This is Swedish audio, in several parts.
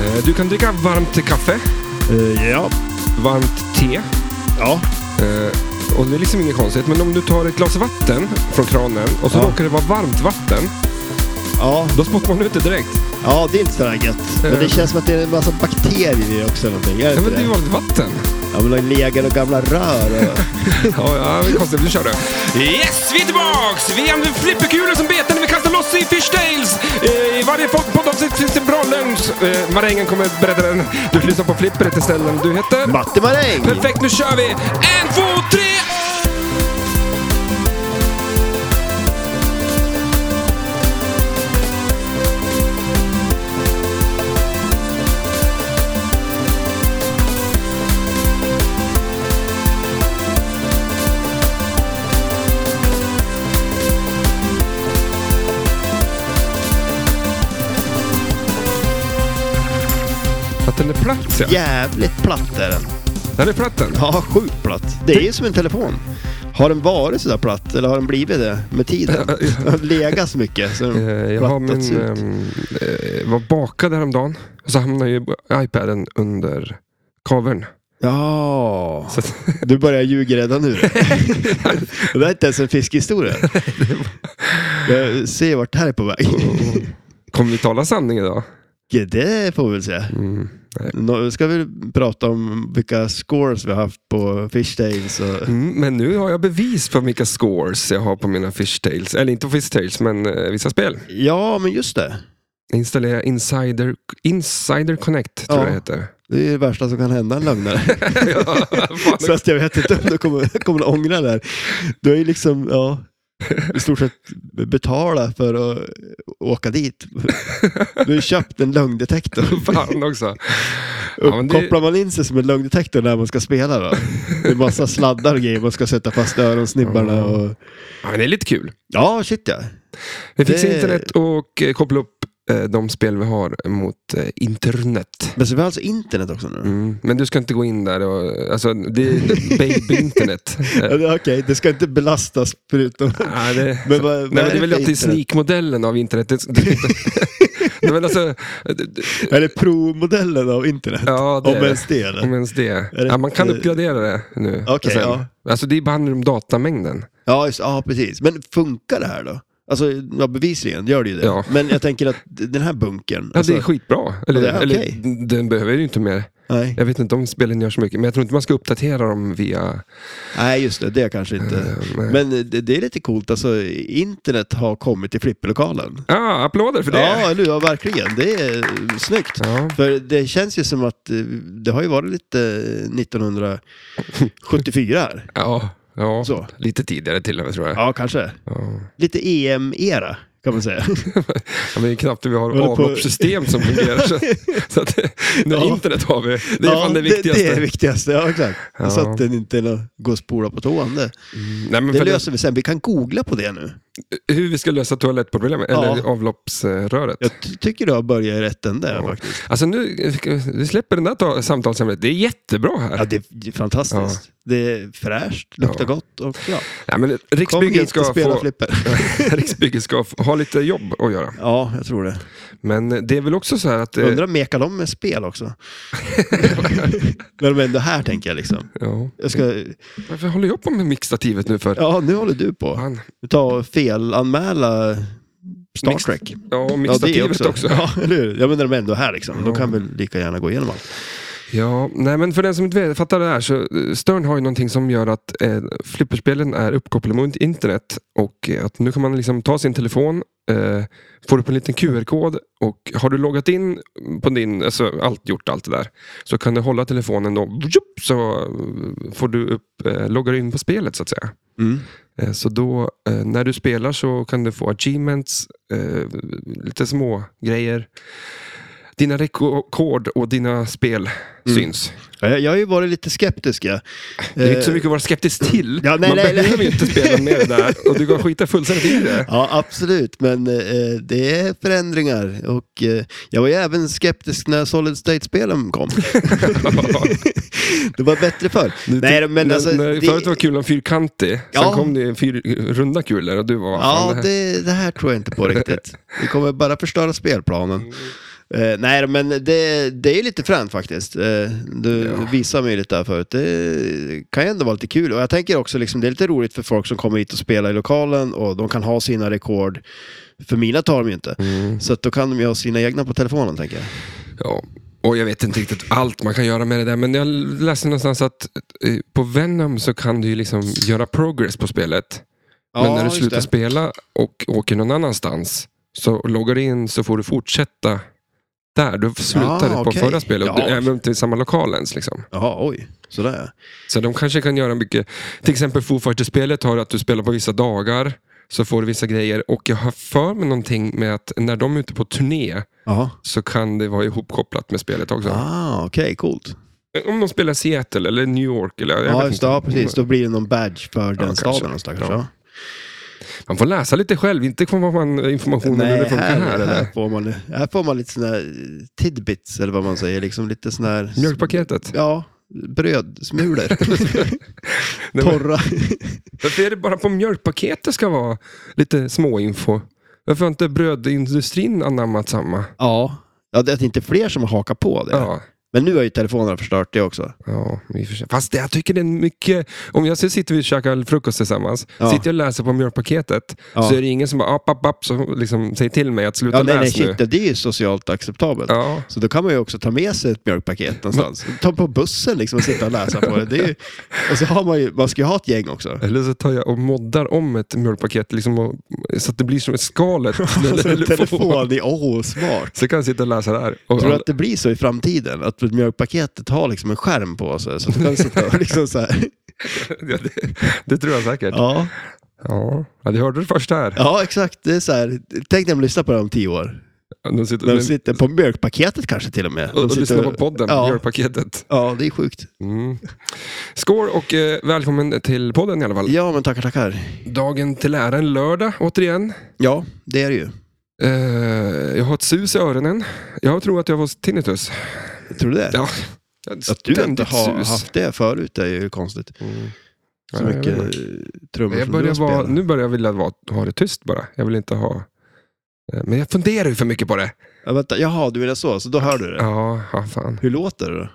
Eh, Du kan dricka varmt kaffe, Eh, ja. varmt te. Ja. eh, Och det är liksom inget konstigt. Men om du tar ett glas vatten från kranen och så Ja. råkar det vara varmt vatten. Ja. Då spottar man ut det direkt. Ja, det är inte sådär gött. Men det känns som att det är en massa bakterier i det också. Eller någonting. Är det Ja, men inte det är ju det? vanligt vatten. Ja, men det legar och gamla rör. Och... Ja, ja, det är konstigt. Nu kör du. Yes, vi är tillbaks! Vi använder flipperkulor som bete när vi kastar loss i Fish Tales. Eh, I varje folkpodd finns en bra lunch. Eh, Marängen kommer berätta den. Du lyssnar på Flipper till ställen du heter. Matte Maräng! Perfekt, nu kör vi! En, två, tre! Att den är platt, ja. Jävligt platt är den. Den är platt den. Ja, sjukt platt. Det är ju som en telefon. Har den varit sådär platt eller har den blivit det med tiden? Har den legat så mycket så har Eh, den Jag har plattats min, ut? ehm, eh, var bakad häromdagen och så hamnade ju iPaden under kaveln. Ja, Så att, du börjar ljuga redan nu. det där är inte ens en fiskhistoria. Jag ser vart det här är på Oh, väg. kommer vi tala sanning idag? Ja, Det får vi väl se. Mm. Nu ska vi prata om vilka scores vi har haft på Fishtails och... Mm, men nu har jag bevis för vilka scores jag har på mina fishtails. Eller inte fishtails, men eh, vissa spel. Ja, men just det. Jag installerar Insider, Insider Connect, tror Ja. jag det heter. Det är det värsta som kan hända en lögnare. ja, fan. Så att jag vet inte om du kommer, kommer att ångra det här. Du har ju liksom, ja, i stort sett betala för att åka dit. Du har ju köpt en lögndetektor. fan också. Ja, men Och det- Kopplar man in sig som en lögndetektor när man ska spela då? Det är massa sladdar och grejer man ska sätta fast öronsnibbarna och... Ja, men det är lite kul. Ja, shit ja. Det finns Det- internet och eh, koppla upp eh, de spel vi har mot eh, internet. Men så vi har alltså internet också nu? Mm, men du ska inte gå in där och, alltså det är baby-internet. Ja, det- Okej, det ska inte belastas förutom... Nej, det, Men vad, vad nej, men det är för väl att det är internet? sneak-modellen av internet. Det, det, det, men alltså, det- Är det pro-modellen av internet? ja, det Om är det. Mm. ens det eller? Om ens det. det Ja, man kan inte- uppgradera det nu. Okej, sen. ja. Alltså det bara handlar om datamängden. Ja, just, ja, precis. Men funkar det här då? Alltså, ja, bevisligen gör det ju det. Ja. Men jag tänker att den här bunkern... Ja, alltså, det är skitbra. Eller, Ja, det är eller okej. den behöver ju inte mer. nej. Jag vet inte om spelen gör så mycket, men jag tror inte man ska uppdatera dem via... nej, just det. Det kanske inte... eh, Men det, det är lite coolt. Alltså, internet har kommit till flipperlokalen. Ah, applåder för det! Ja, eller hur? Ja, verkligen. Det är eh, snyggt. Ja. För det känns ju som att eh, det har ju varit lite eh, 1974 här. Ja, ja. Så. lite tidigare till och med tror jag. Ja, kanske. Ja. Lite EM-era, kan man säga. Ja, men det är knappt att vi har Håller på- avloppssystem som fungerar. Så, så att, nu Ja. internet har vi. Det är ja, fan det Det, det är det viktigaste. viktigaste, ja exakt. Ja. Så att den inte är någon- går och spola på tån. Det. Nej, men Det för det, löser vi sen. Vi kan googla på det nu. hur vi ska lösa toalettproblemet, Ja. eller avloppsröret. Jag ty- tycker du har börjat i rätt ände här, faktiskt. Alltså nu, vi släpper den där ta- samtalsämnet. Det är jättebra här. Ja, det är det är fantastiskt. Det är fräscht, Ja. luktar gott och bra. Nej, men Kom Riksbyggen hit ska, och spela få, flipper. Riksbyggen ska få, ha lite jobb att göra. Ja, jag tror det. Men det är väl också så här att... eh, Undrar mekar de med spel också? När de är ändå här, tänker jag liksom. Ja. Jag ska... Varför håller jag på med mixtativet nu för? Ja, nu håller du på. Fan. Du tar felanmäla Star Mix- Trek. Ja, och Ja, det mixtativet också. också. Ja, eller hur? Ja, men när de är ändå här liksom. Ja. De kan väl lika gärna gå igenom allt. Ja, nej men för den som inte vet, fattar det här så eh, Stern har ju någonting som gör att eh, flipperspelen är uppkopplade mot internet och eh, att nu kan man liksom ta sin telefon, eh, får upp en liten QR-kod och har du loggat in på din, alltså allt gjort allt det där, så kan du hålla telefonen då, vjup, så eh, får du upp, eh, loggar du in på spelet så att säga. Mm. Eh, så då, eh, när du spelar så kan du få achievements, eh, lite små grejer. dina rekord och dina spel Mm. syns. Ja, jag, jag har ju varit lite skeptisk. Ja. Det är inte så mycket att vara skeptisk till. Eh, Ja, nej, Man nej, nej. behöver ju inte spela med det där. Och du kan skita fullständigt i det. Ja, absolut. Men eh, det är förändringar. Och eh, jag var ju även skeptisk när Solid State-spelen kom. det var bättre förr. Nej, men När- alltså, när, det- eh, Förut var kulan fyrkantig, sen Ja. kom det fyr, runda kulor och du var... fan, Ja, det här- det, det här tror jag inte på riktigt. Vi kommer bara förstöra spelplanen. Eh, nej, men det, det är ju lite fränt faktiskt. Eh, du Ja. visade mig lite där förut. Det kan ju ändå vara lite kul. Och jag tänker också, liksom, det är lite roligt för folk som kommer hit och spelar i lokalen och de kan ha sina rekord. För mina tar de ju inte. Mm. Så att då kan de ju ha sina egna på telefonen, tänker jag. Ja. Och jag vet inte riktigt allt man kan göra med det där, men jag läste någonstans att eh, på Venom så kan du ju liksom göra progress på spelet. men när du just slutar det. spela och åker någon annanstans så loggar du in så får du fortsätta där. Du slutade Ja, på Ah, okej. förra spelet, Ja. ja. även till samma lokal ens. Liksom. Jaha, oj. Sådär Så de kanske kan göra mycket. Till exempel Foo Fighters-spelet har att du spelar på vissa dagar, så får du vissa grejer. Och jag har för mig någonting med att när de är ute på turné ja. så kan det vara ihopkopplat med spelet också. Jaha. Ah, okej, coolt. Om de spelar Seattle eller New York. Eller, jag Ja, vet just inte. det, ja, precis. Då blir det någon badge för den kanske. staden någonstans. Ja. Ja. Man får läsa lite själv, inte får man informationen hur det funkar här. här, eller? får man, här får man lite sådana här tidbits, eller vad man säger. Liksom lite sådana här... Mjölkpaketet. Ja, brödsmulor. Nej, men- Torra. Varför är det bara på mjölkpaket det ska vara lite småinfo? Varför har inte brödindustrin anammat samma? ja. ja, det är inte fler som hakar på det. Ja. Men nu har ju telefonerna förstört det också. Ja, i och för sig. Fast det, jag tycker det är mycket... Om jag så sitter vi och käkar frukost tillsammans, Ja. sitter jag och läser på mjölkpaketet, Ja. så är det ingen som bara app, app, app, så liksom säger till mig att sluta Ja, nej, nej, läsa nu. shit, det är ju socialt acceptabelt. Ja. Så då kan man ju också ta med sig ett mjölkpaket någonstans. Ta på bussen liksom och sitta och läsa på det. det är ju, och så har man ju, man ska ju ha ett gäng också. Eller så tar jag och moddar om ett mjölkpaket liksom och, så att det blir som ett skalet. Och så Alltså, en telefon, det är åh, smart. Så kan jag sitta och läsa där. Och Tror du alla- att det blir så i framtiden? Att mjölkpaketet har liksom en skärm på sig? Så att du kan sitta och liksom så här. Ja, det, det tror jag säkert. Ja. Ja. Ja. det hörde du först här. ja, exakt. Det är så här. Tänk när de lyssnar på det om tio år. De sitter, När de sitter på mjölkpaketet kanske till och med. och, De och sitter lyssnar på podden, Ja. mjölkpaketet. Ja, det är sjukt. Mm. Skål och eh, välkommen till podden i alla fall. Ja, men tackar, tackar. Dagen till ära, en lördag återigen. Ja, det är det ju. Eh, jag har ett sus i öronen. Jag tror att jag får tinnitus. Tror du det? Ja. Att du inte Ständigt har sus. haft det förut det är ju konstigt. Mm. Så Ja, jag mycket vet eh, inte. trummor jag som du börjar har vara, spelat. Nu börjar jag vilja vara, ha det tyst bara. Jag vill inte ha... Eh, Men jag funderar ju för mycket på det. Ja, vänta, jaha, du menar så, så då hör du det. Ja, ja fan. Hur låter det då?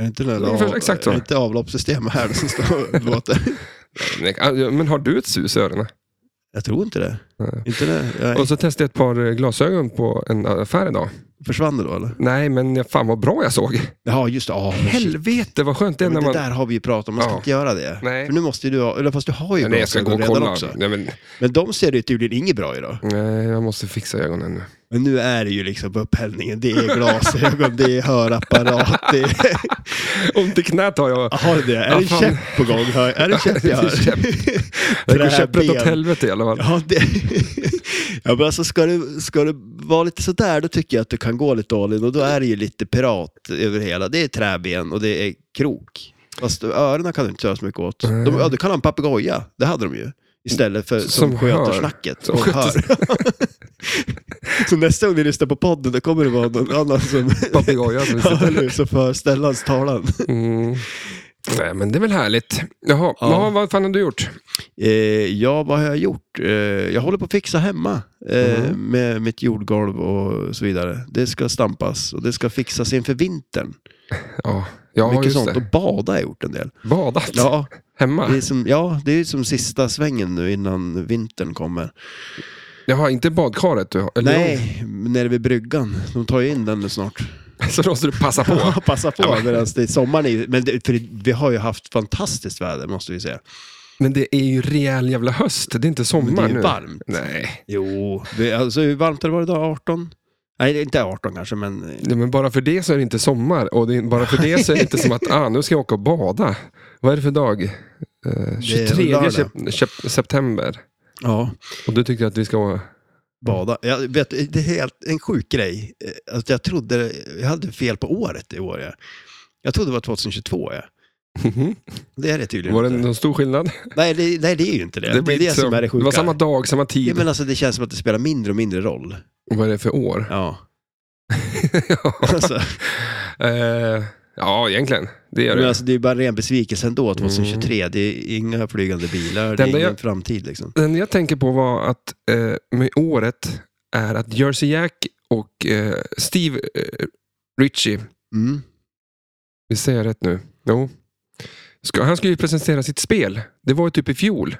Är det inte, den där Ungefär av, exakt så. är det inte avloppssystemet här som står och låter? Men- ah, Men har du ett sus i öronen? Jag tror inte det. Nej. Inte det? Jag Och så testade jag ett par eh, glasögon på en eh, affär idag. Försvann det då eller? Nej, men ja, fan vad bra jag såg. Ja, just det. Oh, Helvete vad skönt det är när men man... det där har vi ju pratat om, man ska Ja. inte göra det. Nej. För nu måste ju du ha, eller fast du har ju Ja, nej, jag ska gå glasögon och redan kolla. också. Nej, men, Men de ser det tydligen inget bra i då. nej, jag måste fixa ögonen nu. Men nu är det ju liksom på upphällningen, det är glasögon, det är hörapparat, det är... Ont i knät har jag. Har du det? Är Ja, det en fan. käpp på gång? Hör- Är det en käpp jag Det är hör? Det går käpprätt Träben. åt helvete i alla fall. Ja, det... ja, men alltså ska det, ska det vara lite sådär, då tycker jag att du kan gå lite all in och då är det ju lite pirat över hela. Det är träben och det är krok. Fast öronen kan du inte göra så mycket åt. De, ja, du kan ha en papegoja, det hade de ju. Istället för som, Som hör. sköter snacket. Som och sköter- hör. så nästa gång ni lyssnar på podden, då kommer det vara någon annan som Papegoja som sitter hör nu, så för Stellans talan. Mm. Nej, men det är väl härligt. Jaha, Ja. Jaha vad fan har du gjort? Eh, ja, vad har jag gjort? Eh, jag håller på att fixa hemma eh, Mhm. med mitt jordgolv och så vidare. Det ska stampas och det ska fixas inför vintern. Ja, ja Mycket just sånt. det. Och bada har jag gjort en del. Badat Ja, hemma? det är som, ja, det är som sista svängen nu innan vintern kommer. Jaha, inte badkaret du har? eller Nej, nere vid bryggan. De tar ju in den nu snart. jo. Så då måste du passa på. Ja, Passa på Ja, men- medan det är sommaren. Är, men det, för det- vi har ju haft fantastiskt väder måste vi säga. Men det är ju rejäl jävla höst. Det är inte sommar Men det är nu. ju varmt. Nej, Jo, det, alltså, hur varmt har det varit idag? 18? Nej, inte 18 kanske, men Ja, men bara för det så är det inte sommar. Och det är, bara för det så är det inte som att ah, nu ska jag åka och bada. Vad är det för dag? Eh, 23 lördag. sep- sep- september. ja. Och du tycker att vi ska bada. Jag vet, det är helt, en sjuk grej. Eh, Alltså jag trodde, jag hade fel på året i år. Jag, jag trodde det var 2022. Ja. Mhm. Det är det tydligen Var det inte. någon stor skillnad? Nej, det, nej, det är ju inte det. Det, är blir det inte som så- är det sjuka. det var samma dag, samma tid. ja, men alltså, det känns som att det spelar mindre och mindre roll. Vad är det för år? Ja. ja. Alltså, Eh, ja, egentligen. Det gör men det. Mm. alltså, det är ju bara en ren besvikelse ändå, 2023. Det är inga flygande bilar, enda det är ingen jag- framtid liksom. Den jag tänker på var att eh, med året är att Jersey Jack och eh, Steve eh, Ritchie, Mm. vi säger rätt nu, jo. Ska, han skulle ju presentera sitt spel. Det var ju typ i fjol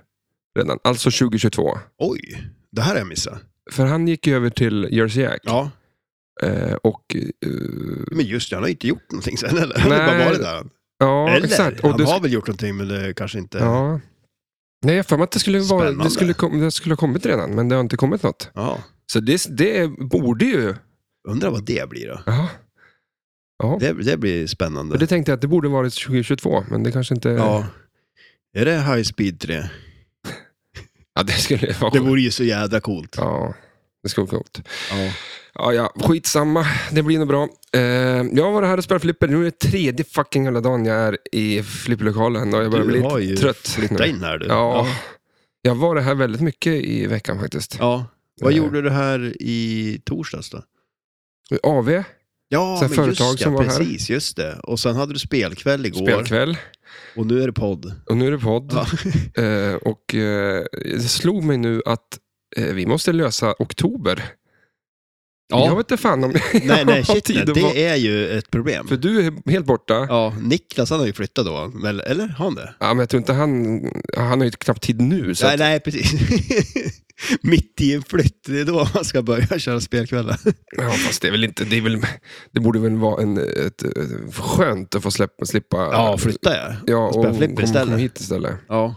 redan, alltså 2022. Oj, det här har jag missat. För han gick ju över till Jersey Jack. Ja, Eh, och, eh, men just det, han har ju inte gjort någonting sen heller. Han har Nej, bara varit där. ja, Eller, exakt. Och han det har väl gjort någonting, men det kanske inte... Ja. Ja. Nej, jag har för mig att det skulle, vara, Spännande. det, skulle kom, det skulle ha kommit redan, men det har inte kommit något. Så det, det borde ju... Undrar vad det blir då. Ja. Ja. Det, det blir Och spännande. det tänkte jag att det borde varit 2022, men det kanske inte... Ja. Är det High Speed 3? Ja, det skulle vara Det sjukt. vore ju så jädra coolt. Ja, det skulle vara coolt. Ja. Ja, ja, skitsamma. Det blir nog bra. Eh, jag var här och spelade flipper. Nu är det tredje fucking hela dagen jag är i flipperlokalen och jag börjar Du bli har lite ju trött. Flytta nu. in här du. Ja. Jag var det här väldigt mycket i veckan faktiskt. ja. Vad Eh. gjorde du här i torsdags då? AV, Ja, Sen men företag just ja, som var här. precis, just det. Och sen hade du spelkväll igår spelkväll. och nu är det podd. Och nu är det podd. Ja. Eh, och eh, det slog mig nu att eh, vi måste lösa oktober. Jag vet inte fan om nej, nej, har shit, tid nej. att vara- det är ju ett problem. För du är helt borta. Ja. Ja, Niklas han har ju flyttat då, men, eller har han det? men jag tror inte han... Han har ju knappt tid nu. Så Nej, att, nej, precis. Mitt i en flytt, det är då man ska börja köra spelkvällar. ja, fast det är väl inte... Det, är väl, det borde väl vara en, ett, ett, skönt att få släppa, slippa... Ja, flytta ja. Ja, och spela flipper kom- istället. kom hit istället. Ja,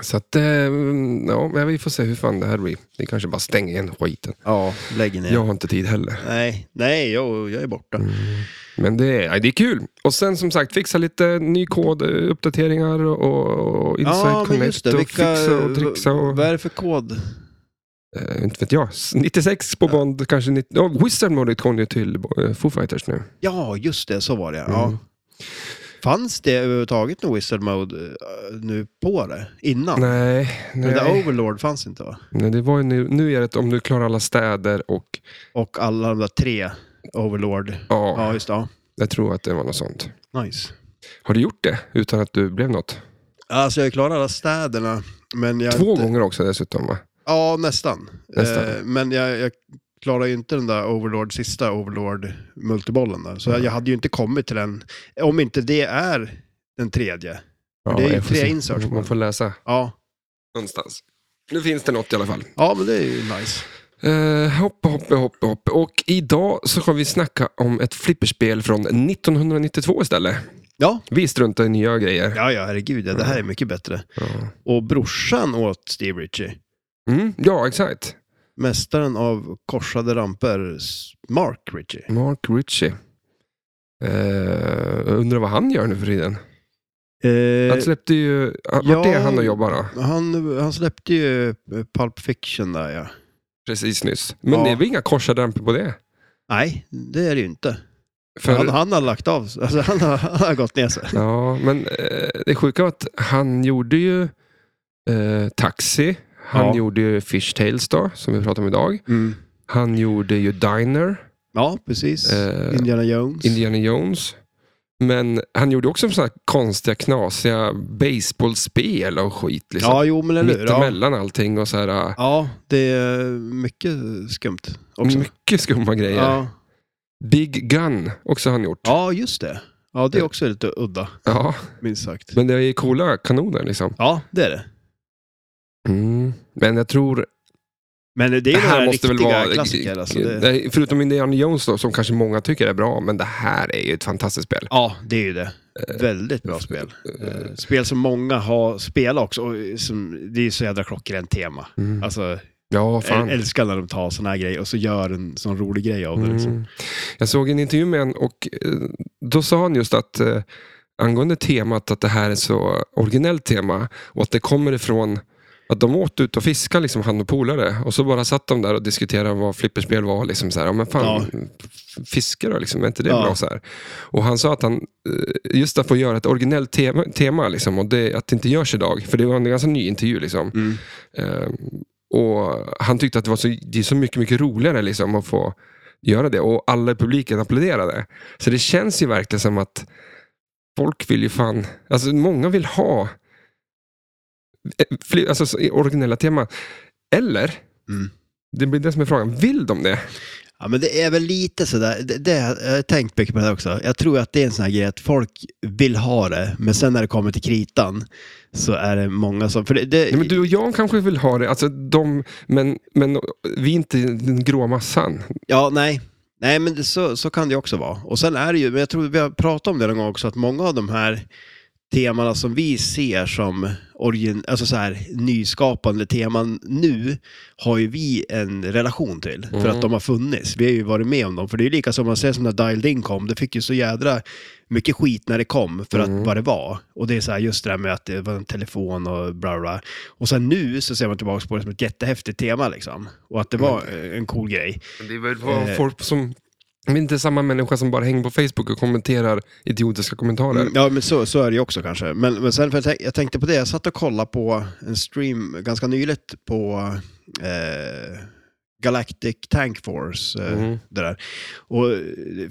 Så att, eh, ja, men vi får se hur fan det här blir. Det kanske bara stänger igen skiten. ja lägg ner. Jag har inte tid heller. Nej, nej, jag, jag är borta. Mm. Men det är, ja, det är kul. Och sen som sagt, fixa lite ny kod, eh, uppdateringar och, och Insight ja, men Connect just det. och Vilka, fixa och trixa. Och, Vad är det för kod? eh, inte vet jag. 96 på Bond, kanske 90, oh, Wizard Mode kom ju till eh, Foo Fighters nu. Ja, just det, så var det. Ja. Mm. Fanns det överhuvudtaget något Wizard Mode eh, nu på det? Innan? Nej, nej. Men det oh. Overlord fanns inte va? nej, det var ju nu, nu är det om du klarar alla städer och Och alla de där tre Overlord. ja, Ja, just det. Ja. jag tror att det var något sånt. Nice. Har du gjort det utan att du blev något? Alltså jag klarar alla städerna. Men jag Två inte... gånger också dessutom va? Ja, nästan. Nästan. Eh, men jag, jag klarar ju inte den där Overlord, sista Overlord-multibollen. Där. Så jag, jag hade ju inte kommit till den. Om inte det är den tredje. Ja, det är ju jag får tre se. inserts på Man den. får läsa Ja, någonstans. Nu finns det något i alla fall. ja men det är ju nice. Uh, hopp, hopp, hopp, hopp. Och idag så ska vi snacka om ett flipperspel från 1992 istället. Ja, Vi struntar i nya grejer. ja, ja herregud. Ja, det här är mycket bättre. Ja, Och brorsan åt Steve Ritchie. mm, ja exakt. Mästaren av korsade ramper, S- Mark Ritchie. Mark Ritchie. Eh, undrar vad han gör nu för tiden. Han Eh, släppte ju... Vart ja. är han och jobbar då? han, han släppte ju eh, Pulp Fiction där ja. Precis nyss. Men Ja. det är väl inga korsade ramper på det? Nej, det är det ju inte. För, Han, han har lagt av sig. alltså, han, har, han har gått ner sig. Ja, men eh, det sjuka var att han gjorde ju eh, Taxi. Han Ja. gjorde ju Fish Tales då, som vi pratar om idag. Mm. Han gjorde ju Diner. Ja, precis. Eh, Indiana Jones. Indiana Jones. Men han gjorde också sådana här konstiga, knasiga baseballspel och skit. Liksom. ja, jo men eller hur. Ja. Mittemellan allting och så här. äh, ja, det är mycket skumt också. Mycket skumma grejer. Ja. Big Gun också har han gjort. ja, just det. Ja, det är också lite udda, Ja, minst sagt. men det är ju coola kanoner liksom. Ja, det är det. Mm. Men jag tror... Men det är ju Det här några måste väl riktiga vara... klassiker. Alltså, det... Nej, Förutom Indiana Jones då, som kanske många tycker är bra, men det här är ju ett fantastiskt spel. Ja, det är ju det. Väldigt bra spel. Eh, Spel som många har spelat också. Och eh, som, det är ju så jädra klockrent tema. Mm. Alltså, Ja, jag fan. älskar när de tar såna här grejer och så gör en sån rolig grej av det. Liksom. Mm. Jag såg en intervju med en och eh, då sa han just att eh, angående temat att det här är så originellt tema och att det kommer ifrån Att de åt ut och fiskade, liksom, han och polare. Och så bara satt de där och diskuterade vad flipperspel var. Liksom, så här, ja, men fan, Fiske då, liksom, är inte det Ja. bra? Så här. Och han sa att han, eh, just att få göra ett originellt tema, tema liksom, och det, att det inte görs idag. För det var en ganska ny intervju. Liksom. Mm. Eh, och han tyckte att det var så, det är så mycket, mycket roligare liksom, att få göra det. Och alla i publiken applåderade. Så det känns ju verkligen som att folk vill ju fan... Alltså många vill ha eh, fli- alltså, så- originella teman. Eller, Mm. det blir det som är frågan, vill de det? Ja, men det är väl lite sådär, det, det, jag har tänkt mycket på det också. Jag tror att det är en sån här grej att folk vill ha det, men sen när det kommer till kritan så är det många som... För det, det, Nej, men du och jag kanske vill ha det, alltså, de, men, men vi är inte den grå massan. Ja, nej. Nej, men det, så, så kan det också vara. Och sen är det ju, men jag tror vi har pratat om det någon gång också, att många av de här temana som vi ser som origin, alltså så här, nyskapande teman nu har ju vi en relation till. För Mm. att de har funnits. Vi har ju varit med om dem. För det är ju lika som man säger som när Dialed In kom. Det fick ju så jädra mycket skit när det kom för Mm. att vad det var. Och det är så här just det där med att det var en telefon och bla bla, bla. Och sen nu så ser man tillbaka på det som ett jättehäftigt tema liksom. Och att det Mm. var eh, en cool grej. Det är väl vad Eh. folk som... Vi är inte samma människa som bara hänger på Facebook och kommenterar idiotiska kommentarer. Mm, Ja, men så, så är det ju också kanske. Men, men sen, för jag, tänk, jag tänkte på det, jag satt och kollade på en stream ganska nyligt på eh, Galactic Tank Force. Eh, Mm. det där. Och,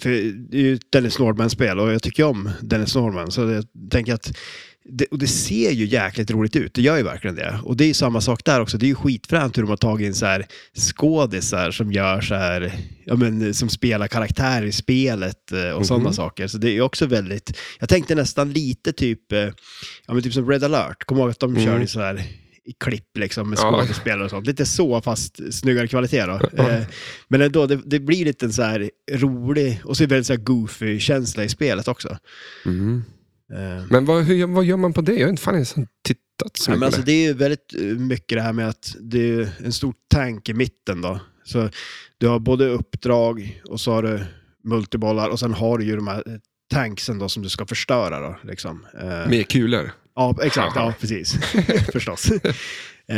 för det är ju ett Dennis Norman-spel och jag tycker ju om Dennis Norman. Så jag tänker att det, och det ser ju jäkligt roligt ut, det gör ju verkligen det. Och det är ju samma sak där också, det är ju skitfränt hur de har tagit in så här skådisar som gör så här, ja men som spelar karaktärer i spelet eh, och Mhm. sådana saker. Så det är ju också väldigt, jag tänkte nästan lite typ, eh, ja men typ som Red alert, kom ihåg att de Mm. körde så här i klipp liksom med Ja. skådespelare och sånt. Lite så fast snyggare kvalitet då. Ja. Eh, men ändå, det, det blir lite en så här rolig och så är det väldigt så här goofy känsla i spelet också. Mm. Eh, Men vad, hur, vad gör man på det? Jag har inte fan ens tittat så Ja, mycket men på alltså, det. det är ju väldigt eh, mycket det här med att det är en stor tank i mitten. Då. Så du har både uppdrag och så har du multibollar och sen har du ju de här eh, tanksen då som du ska förstöra. Då, liksom. Eh, Med kulor. Ja, exakt. Ja, precis. Förstås. Eh,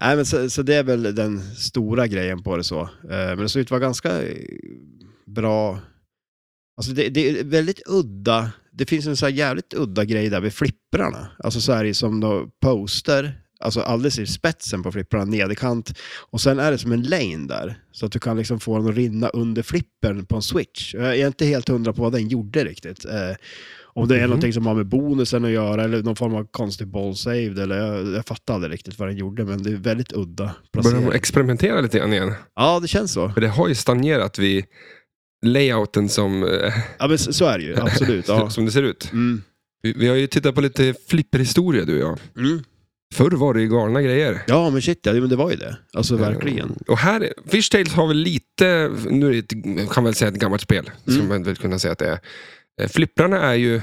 nej, men så, så det är väl den stora grejen på det så. Eh, men det såg ut att vara ganska eh, bra. Alltså det, det är väldigt udda. Det finns en så här jävligt udda grej där vid flipprarna. Alltså så här i som då poster. Alltså alldeles i spetsen på flipprarna, nederkant. Och sen är det som en lane där. Så att du kan liksom få den att rinna under flippern på en switch. Jag är inte helt hundra på vad den gjorde riktigt. Eh, om det är Mhm. någonting som har med bonusen att göra eller någon form av konstig ball saved. Eller, jag, jag fattar aldrig riktigt vad den gjorde, men det är väldigt udda. Börjar de placering. experimentera lite grann igen? Ja, det känns så. För det har ju stagnerat vid layouten som, eh, Ja, men så, så är det ju. Absolut. Ja. som det ser ut. Mm. Vi, vi har ju tittat på lite flipperhistoria du och jag. Mm. Förr var det ju galna grejer. Ja, men shit, ja, men det var ju det. Alltså verkligen. Och här, Fish Tales har väl lite, nu är det ett, kan väl säga ett gammalt spel, som Mm. man väl kunna säga att det är. Eh, Flipprarna är ju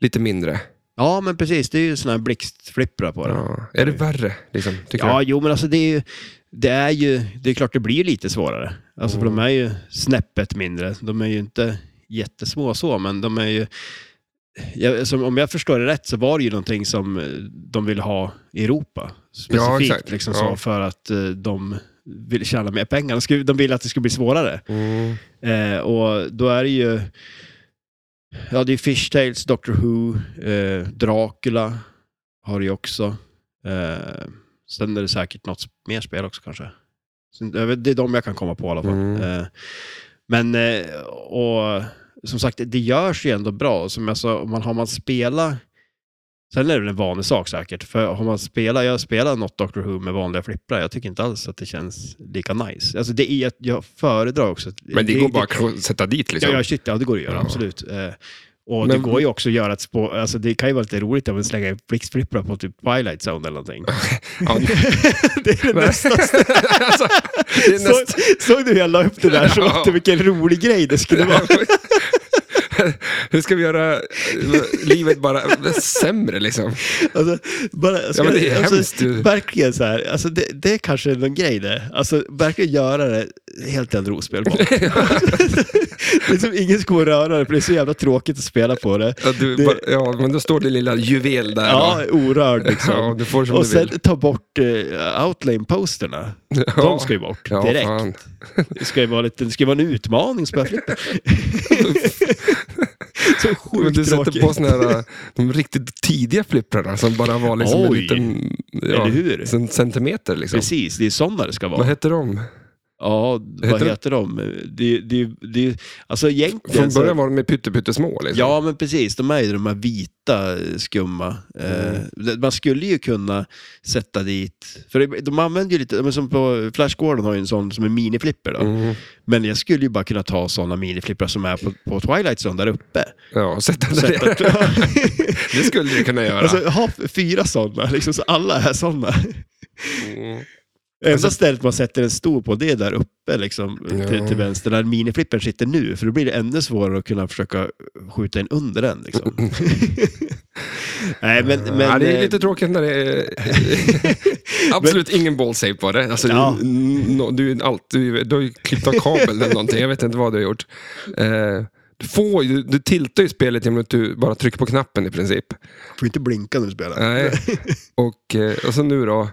lite mindre. Ja, men precis. Det är ju sådana här blixtflipprar på den. Ja. Är det värre? Liksom, tycker Ja, du? jo, men alltså det är ju... Det är ju det är klart det blir ju lite svårare. Alltså, för Mm. de är ju snäppet mindre. De är ju inte jättesmå så, men de är ju... Jag, som, om jag förstår det rätt så var det ju någonting som eh, de ville ha i Europa. Ja, Specifikt exakt. liksom Ja. så, för att eh, de ville tjäna mer pengar. De, skulle, de ville att det skulle bli svårare. Mm. Eh, och då är det ju... Ja, det är Fish Tales, Doctor Who, eh, Dracula har det ju också. Eh, sen är det säkert något mer spel också kanske. Så, jag vet- det är de jag kan komma på i alla fall. Mm. Eh, men, eh, och som sagt, det görs ju ändå bra. Som jag sa, om man, har man spelat... Sen är det väl en vanlig sak säkert. För har man spelat, jag spelar något Doctor Who med vanliga flipprar. Jag tycker inte alls att det känns lika nice. Alltså det är, jag föredrar också... att- Men det går bara att sätta dit liksom. Ja, ja, shit, ja, det går att göra, Ja. absolut. Eh, och Men- det går ju också att göra ett spår, alltså det kan ju vara lite roligt om man slänger en blixtflippra på typ Twilight Zone eller någonting. Ja, det är det Nej. nästa. alltså, det är Såg, näst... såg du hur jag la upp det där? Ja. Så ja. vilken rolig grej det skulle vara. Hur ska vi göra eh, livet bara sämre liksom? Alltså, bara, ska, men det är alltså, hemskt, du. Verkligen så här, alltså det, det är kanske någon grej det. Alltså verkligen göra det helt en rospel bara. liksom ingen ska gå och röra det, för det är så jävla tråkigt att spela på det. Ja, du, Det- bara- ja, men då står det lilla juvel där. Ja, va? orörd liksom. ja du får som och du sen vill. ta bort eh, outlane-posterna. ja. De ska ju bort Ja, direkt. fan. Det ska ju vara, lite, det ska ju vara en utmaning att spela flipper. så Men du sjukt sätter tråkigt. på såna här, eh, de riktigt tidiga flipprarna som bara var liksom en Oj. liten Eller ja, hur? en centimeter. Liksom. Precis, det är sådana det ska vara. Vad hette de? Ja, vad heter- heter de? Det, det, det, alltså egentligen... Från så- början var de med pyttepyttesmå. Liksom. Ja, men precis. De är ju de här vita eh, skumma. Eh, Mm. det- Man skulle ju kunna sätta dit... För det- de använder ju lite... Men som på Flash Gordon har ju en sån som är miniflipper. Då. Mm. Men jag skulle ju bara kunna ta såna miniflipprar som är på, på Twilight Zone där uppe. Ja, sätta den Sätta- där. Det skulle du kunna göra. alltså, ha f- fyra såna, liksom, så alla är såna. Mm. Enda stället man sätter en stor på, det är där uppe liksom, Ja. till, till vänster, där miniflippern sitter nu. För då blir det ännu svårare att kunna försöka skjuta in under den. Liksom. Nej, men... men ja, det eh, är lite tråkigt när det är... Absolut ingen ballsave på det. Alltså, Ja. n- no, du, är allt, du, du har ju klippt av kabeln eller någonting. Jag vet inte vad du har gjort. Eh, du, får, ju- du, du tiltar ju spelet genom att du bara trycker på knappen i princip. får inte blinka när du spelar. Nej. Och, eh, och så nu då,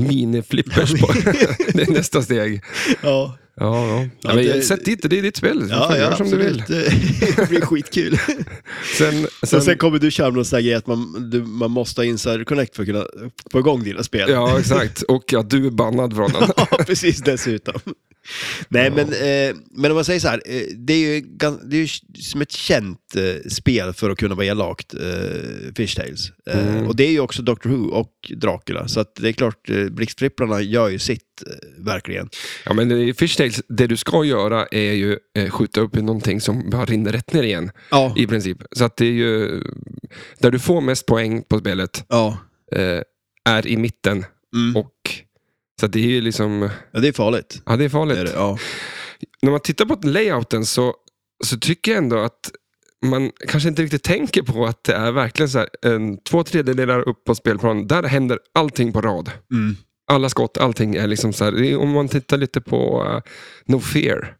miniflippers på. det är nästa steg. Ja, Ja, ja. Ja, men, det- Sätt dit det, det är ditt spel. Ja, ja, gör ja som du vill. absolut. det blir skitkul. Sen, Sen, sen, sen kommer du köra med någon sån här grej att man, du, man måste ha insider connect för att kunna få igång dina spel. ja, exakt. Och att du är bannad från den. Ja, precis dessutom. Nej, Ja. men, eh, men om man säger så här, eh, det är ju, gan- det är ju som ett känt eh, spel för att kunna vara elakt, eh, Fish Tales. Eh, Mm. Och det är ju också Doctor Who och Dracula, så att det är klart, eh, blixtflipprarna gör ju sitt, eh, verkligen. Ja, men i Fishtails, det du ska göra är ju eh, skjuta upp i någonting som bara rinner rätt ner igen. Ja. I princip. Så att det är ju... Där du får mest poäng på spelet Ja. eh, är i mitten. Mm. Och, så att det är ju liksom... ja, det är farligt. Ja, det är farligt. Det är det, ja. När man tittar på layouten så, så tycker jag ändå att man kanske inte riktigt tänker på att det är verkligen så här, en, två tredjedelar upp på spelplanen, där händer allting på rad. Mm. Alla skott, allting är liksom så här. Det är- Om man tittar lite på eh, No Fear,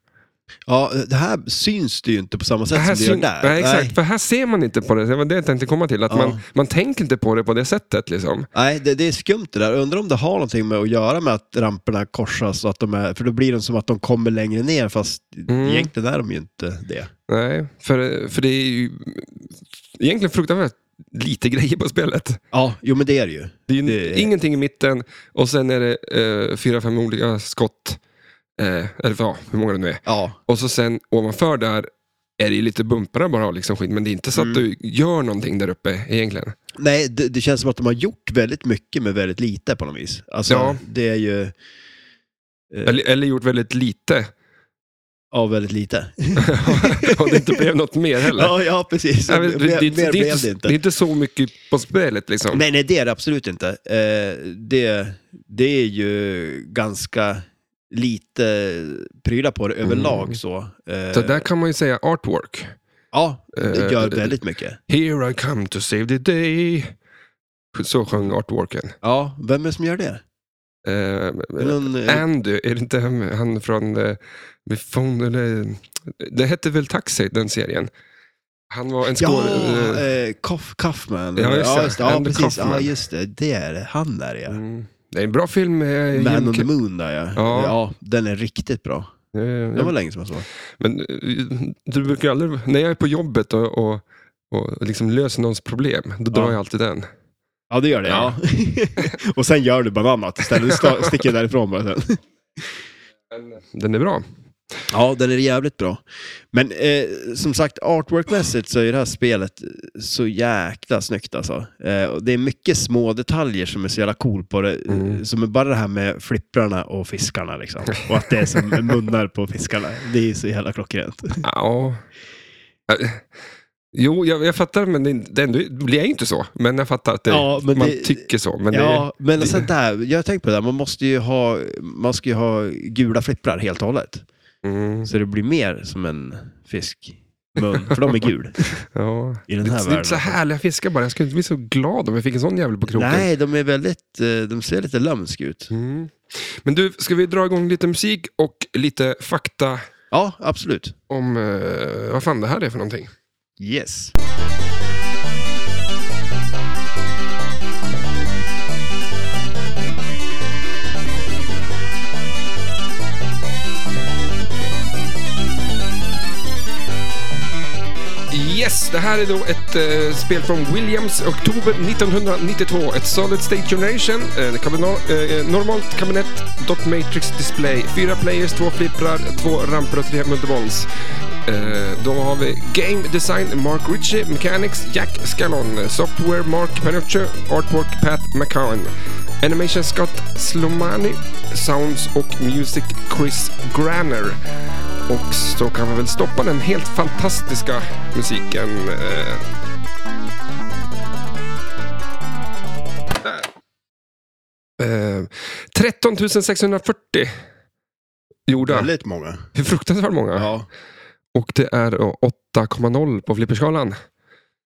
ja, det här syns det ju inte på samma sätt Det här som det gör syn- där. Nej, exakt. Nej, För här ser man inte på det. Det var det jag tänkte komma till. Att Ja. man, man tänker inte på det på det sättet. Liksom. Nej, det, det är skumt det där. Undrar om det har någonting med att göra med att ramperna korsas, och att de är, för då blir det som att de kommer längre ner, fast Mm. egentligen är de ju inte det. Nej, för, för det är ju egentligen fruktansvärt lite grejer på spelet. Ja, jo men det är det ju. Det är ju Det är- ingenting i mitten och sen är det eh, fyra, fem olika skott. Eh, eller ja, hur många det nu är. Ja, Och så sen ovanför där är det ju lite bumprar bara och liksom skit. Men det är inte så att Mm. du gör någonting där uppe egentligen. nej det, det känns som att de har gjort väldigt mycket med väldigt lite på något vis. Alltså, Ja. det är ju eh, Eller, eller gjort väldigt lite. av väldigt lite. och det inte blev något mer heller. ja, ja, precis. Nej, men det, det, mer mer det, det, är blev inte, det det är inte. inte så mycket på spelet liksom. Nej, nej, det är det absolut inte. Eh, det, det är ju ganska lite prylar på det överlag så. Eh, Så där kan man ju säga artwork. Ja, Eh, det gör väldigt mycket. Here I come to save the day. Så sjöng artworken. Ja, vem är det som gör det? Eh, Är det någon, eh, Andy, är det inte han, han från... eh, Befond, eller, det hette väl Taxi, den serien? Han var en Ja, skådespelare. eh, Kauf, Kaufman. Ja, just det. Ja, Andrew precis. Ja, Kaufman. just det. Det är det. Han där ja. mm. Det är en bra film. Eh, Man Jim on the Car- Moon där ja. Ja. ja. den är riktigt bra. Eh, Det var länge som jag såg. Men eh, du brukar aldrig... När jag är på jobbet och, och, och liksom löser någons problem, då drar Ja. jag alltid den. Ja, det gör det. Ja. Ja. och sen gör du bara något annat istället. Du sta- sticker därifrån bara sen. Den är bra. Ja, den är jävligt bra. Men eh, som sagt, artworkmässigt så är det här spelet så jäkla snyggt alltså. Eh, och det är mycket små detaljer som är så jävla cool på det. eh, Mm. Som är bara det här med flipprarna och fiskarna liksom. Och att det är som munnar på fiskarna. Det är så jävla klockrent. Ja. Eh, Jo, jag, jag fattar, men det, är inte- det, är ändå, det blir ju inte så. Men jag fattar att det, Ja, men man det- tycker så. Men ja, men det- det... sånt där, jag har tänkt på det där, man måste ju ha, man ska ju ha gula flipprar helt och hållet. det, mm, Så det blir mer som en fiskmun, för de är gul ja. i Det, den här det är inte så världen. härliga fiskar bara. Jag skulle inte bli så glad om jag fick en sån jävel på kroken. Nej, de är väldigt, eh, de ser lite lömsk ut. Mm. Men du, ska vi dra igång lite musik och lite fakta Ja, absolut. om eh, vad fan det här är för någonting? Yes. Yes, det här är då ett eh, spel från Williams, oktober 1992. Ett Solid State Generation, eh, kabina- eh, normalt kabinett, dot matrix display, fyra players, två flipprar, två ramper och tre multiballs. Eh, då har vi Game Design, Mark Ritchie, Mechanics, Jack Scallon, eh, Software, Mark Panuccio, Artwork, Pat McCowan. Animation, Scott Slomani, Sounds och Music, Chris Granner. Och så kan vi väl stoppa den helt fantastiska musiken. eh. Där. Eh, 13 640 gjorda. Väldigt många. Hur fruktansvärt många. Ja. Och det är då 8,0 på flipperskalan.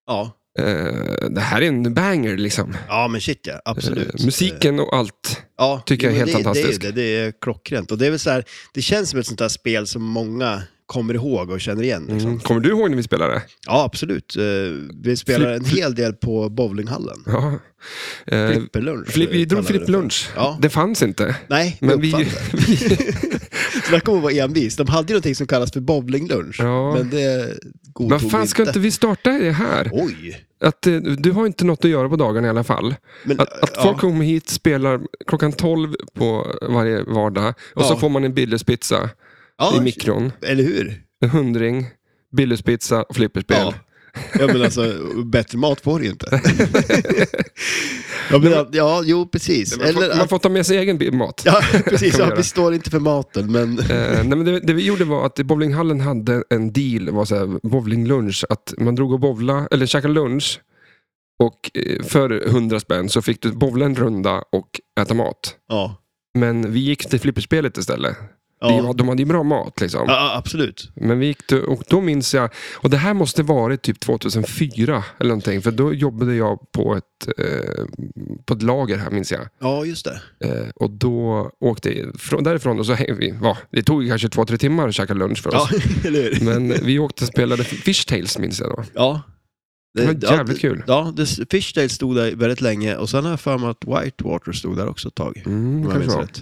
Ja. Eh, det här är en banger liksom. ja, men shit ja. Absolut. Eh, musiken och allt. ja, tycker jag är jo, men helt det, fantastisk. Det är, det, det är klockrent. Och det, är väl så här, det känns som ett sånt där spel som många kommer ihåg och känner igen. Liksom. Mm. Kommer du ihåg när vi spelade? Ja, absolut. Eh, Vi spelar en hel del på bowlinghallen. Ja. Eh, Flipperlunch. flipp- vi drog kallar vi det för. flipplunch. Ja. Det fanns inte. Nej, vi Men vi, uppfann det. vi, Snacka om att vara envis. De hade ju någonting som kallas för bowlinglunch. Ja. Men det godtog Men fan, ska vi inte vi starta det här? Oj! Att, eh, du har inte något att göra på dagarna i alla fall. Men, Att, att ja. folk kommer hit, spelar klockan 12 på varje vardag och så Ja. får man en Billerspizza ja, i mikron. Eller hur? En hundring, Billerspizza och flipperspel. Ja. ja, men alltså bättre mat får du ju inte. ja, men, ja, jo precis. Man, Eller får, man att, får ta med sig egen bi- mat. ja, precis. kan man Ja, göra. vi står inte för maten, men Eh, nej, men det, det vi gjorde var att bowlinghallen hade en deal, var så här, bowlinglunch. Att man drog och bowla, eller käkade lunch. Och eh, för 100 spänn så fick du bowla en runda och äta mat. ja. Men vi gick till flipperspelet istället. Ja, Vi, de hade ju bra mat liksom. ja absolut. Men vi gick till, och då minns jag, och det här måste varit typ 2004 eller någonting. För då jobbade jag på ett, eh, på ett lager här minns jag. Ja, just det. Eh, och då åkte jag från, därifrån och så hängde vi. Ja, det tog kanske två, tre timmar att käka lunch för Ja, oss. eller hur? Men vi åkte och spelade Fishtails minns jag då. Ja. Det var ja, jävligt kul. Ja, det, Fishtail stod där väldigt länge och sen har jag för mig att Whitewater stod där också ett tag. Mm, om jag kanske minns var. rätt.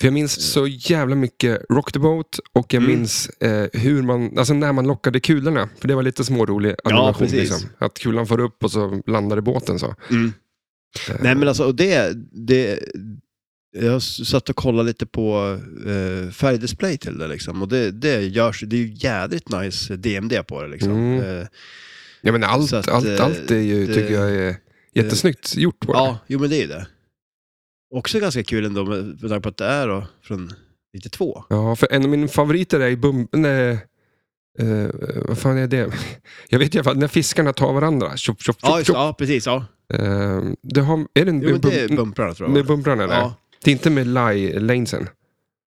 För jag minns så jävla mycket Rock the Boat och jag Mm. minns eh, hur man, alltså när man lockade kulorna. För det var lite smårolig animation. precis. liksom. Att kulan får upp och så landar i båten. Så. Mm. Nej Eh. men alltså, och det, det... Jag satt och kollade lite på eh, färgdisplay till det liksom. Och det, det görs, det är ju jädrigt nice DMD på det liksom. Mm. Eh, Ja, men allt, Så att, allt, eh, allt är ju, det- tycker jag är jättesnyggt gjort på det. ja, jo men det är ju det. Också ganska kul ändå med, med tanke på att det är då från 92. Ja, för en av mina favoriter är ju bum... Nej, eh, vad fan är det? Jag vet i alla fall, när fiskarna tar varandra. Tjopp, tjopp, Ja, tjopp, just, tjopp. ja precis. Ja. Eh, det har, är det en Jo men det är bum- bumprarna tror jag. med bumprarna? eller? ja. Det är inte med laj lanesen?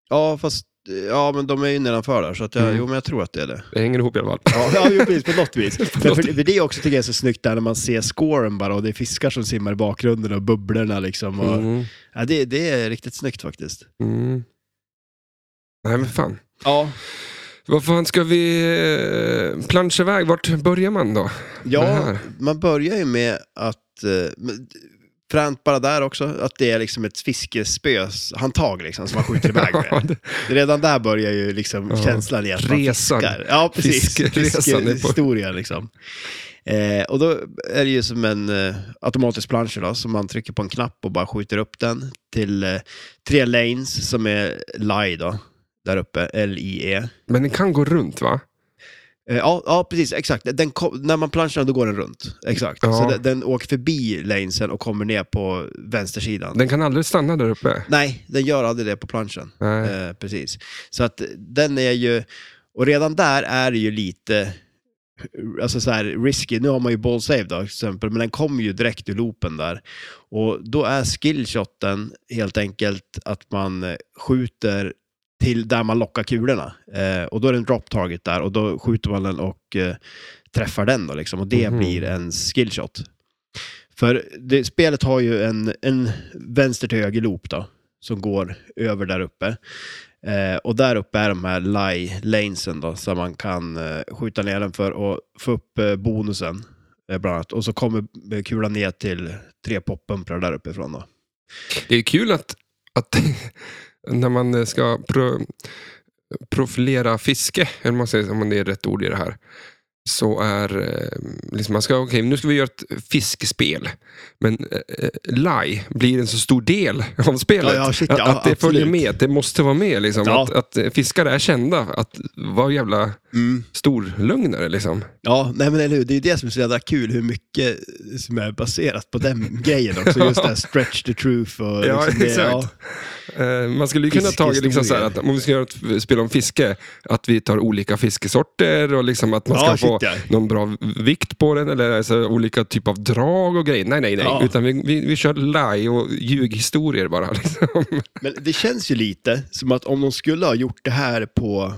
ja, fast... Ja, men de är ju nedanför där, så att jag, Mm. jo, men jag tror att det är det. Det hänger ihop i alla fall. Ja, ja jo, precis, på något vis. Men något för, för det är också tycker jag är så snyggt där när man ser scoren bara och det är fiskar som simmar i bakgrunden och bubblorna liksom. Och, Mm, ja, det, det är riktigt snyggt faktiskt. mm. Nej, men fan. Ja, Vad fan ska vi eh, planscha iväg? Vart börjar man då? Det ja här. man börjar ju med att, eh, men- fränt bara där också, att det är liksom ett fiskespöshandtag liksom som man skjuter iväg med. Redan där börjar ju liksom Ja. känslan i att man Resan. fiskar. Ja, precis. Fiskeresan är på- Fiskehistoria liksom. Eh, och då är det ju som en eh, automatisk plansch då, som man trycker på en knapp och bara skjuter upp den till eh, tre lanes som är LIE då, där uppe, L-I-E. Men den kan gå runt va? Eh, Ja, ja, precis. Exakt. Den kom, när man planschar då går den runt. Exakt. Ja. Så den, den åker förbi lanesen och kommer ner på vänstersidan. Den kan aldrig stanna där uppe? Nej, den gör aldrig det på planschen. Nej. Eh, precis. Så att den är ju, och redan där är det ju lite, alltså så här risky. Nu har man ju ball save då, till exempel, men den kommer ju direkt ur loopen där. Och då är skillshoten helt enkelt att man eh, skjuter till där man lockar kulorna. Eh, och då är det en drop target där och då skjuter man den och eh, träffar den då liksom. Och det Mhm. blir en skillshot. För det, spelet har ju en, en vänster till höger loop då. som går över där uppe. Eh, och där uppe är de här lie lanesen då, som man kan eh, skjuta ner den för att få upp eh, bonusen. Eh, bland annat. Och så kommer eh, kulan ner till tre poppumprar där uppifrån. Då. Det är kul att, att när man ska pro, profilera fiske, eller man säger, om det är rätt ord i det här, så är eh, liksom man ska, okej nu ska vi göra ett fiskespel. Men eh, laj blir en så stor del av spelet. Ja, ja, shit, att, ja, att det följer absolut. med, det måste vara med. Liksom. Ja. Att, att eh, fiskare är kända att vara jävla storlögnare. Liksom. Ja, nej men eller hur, det är ju det som är så jävla kul, hur mycket som är baserat på den grejen också. Just det här stretch the truth och... Ja, liksom det, exakt. Eh, Man skulle ju kunna ta liksom så här att om vi ska göra ett spel om fiske, att vi tar olika fiskesorter och liksom att man ska Ja, shit, få ja. någon bra vikt på den eller alltså olika typ av drag och grejer. Nej, nej, nej. Ja. Utan vi, vi, vi kör laj och ljughistorier bara. Liksom. Men det känns ju lite som att om de skulle ha gjort det här på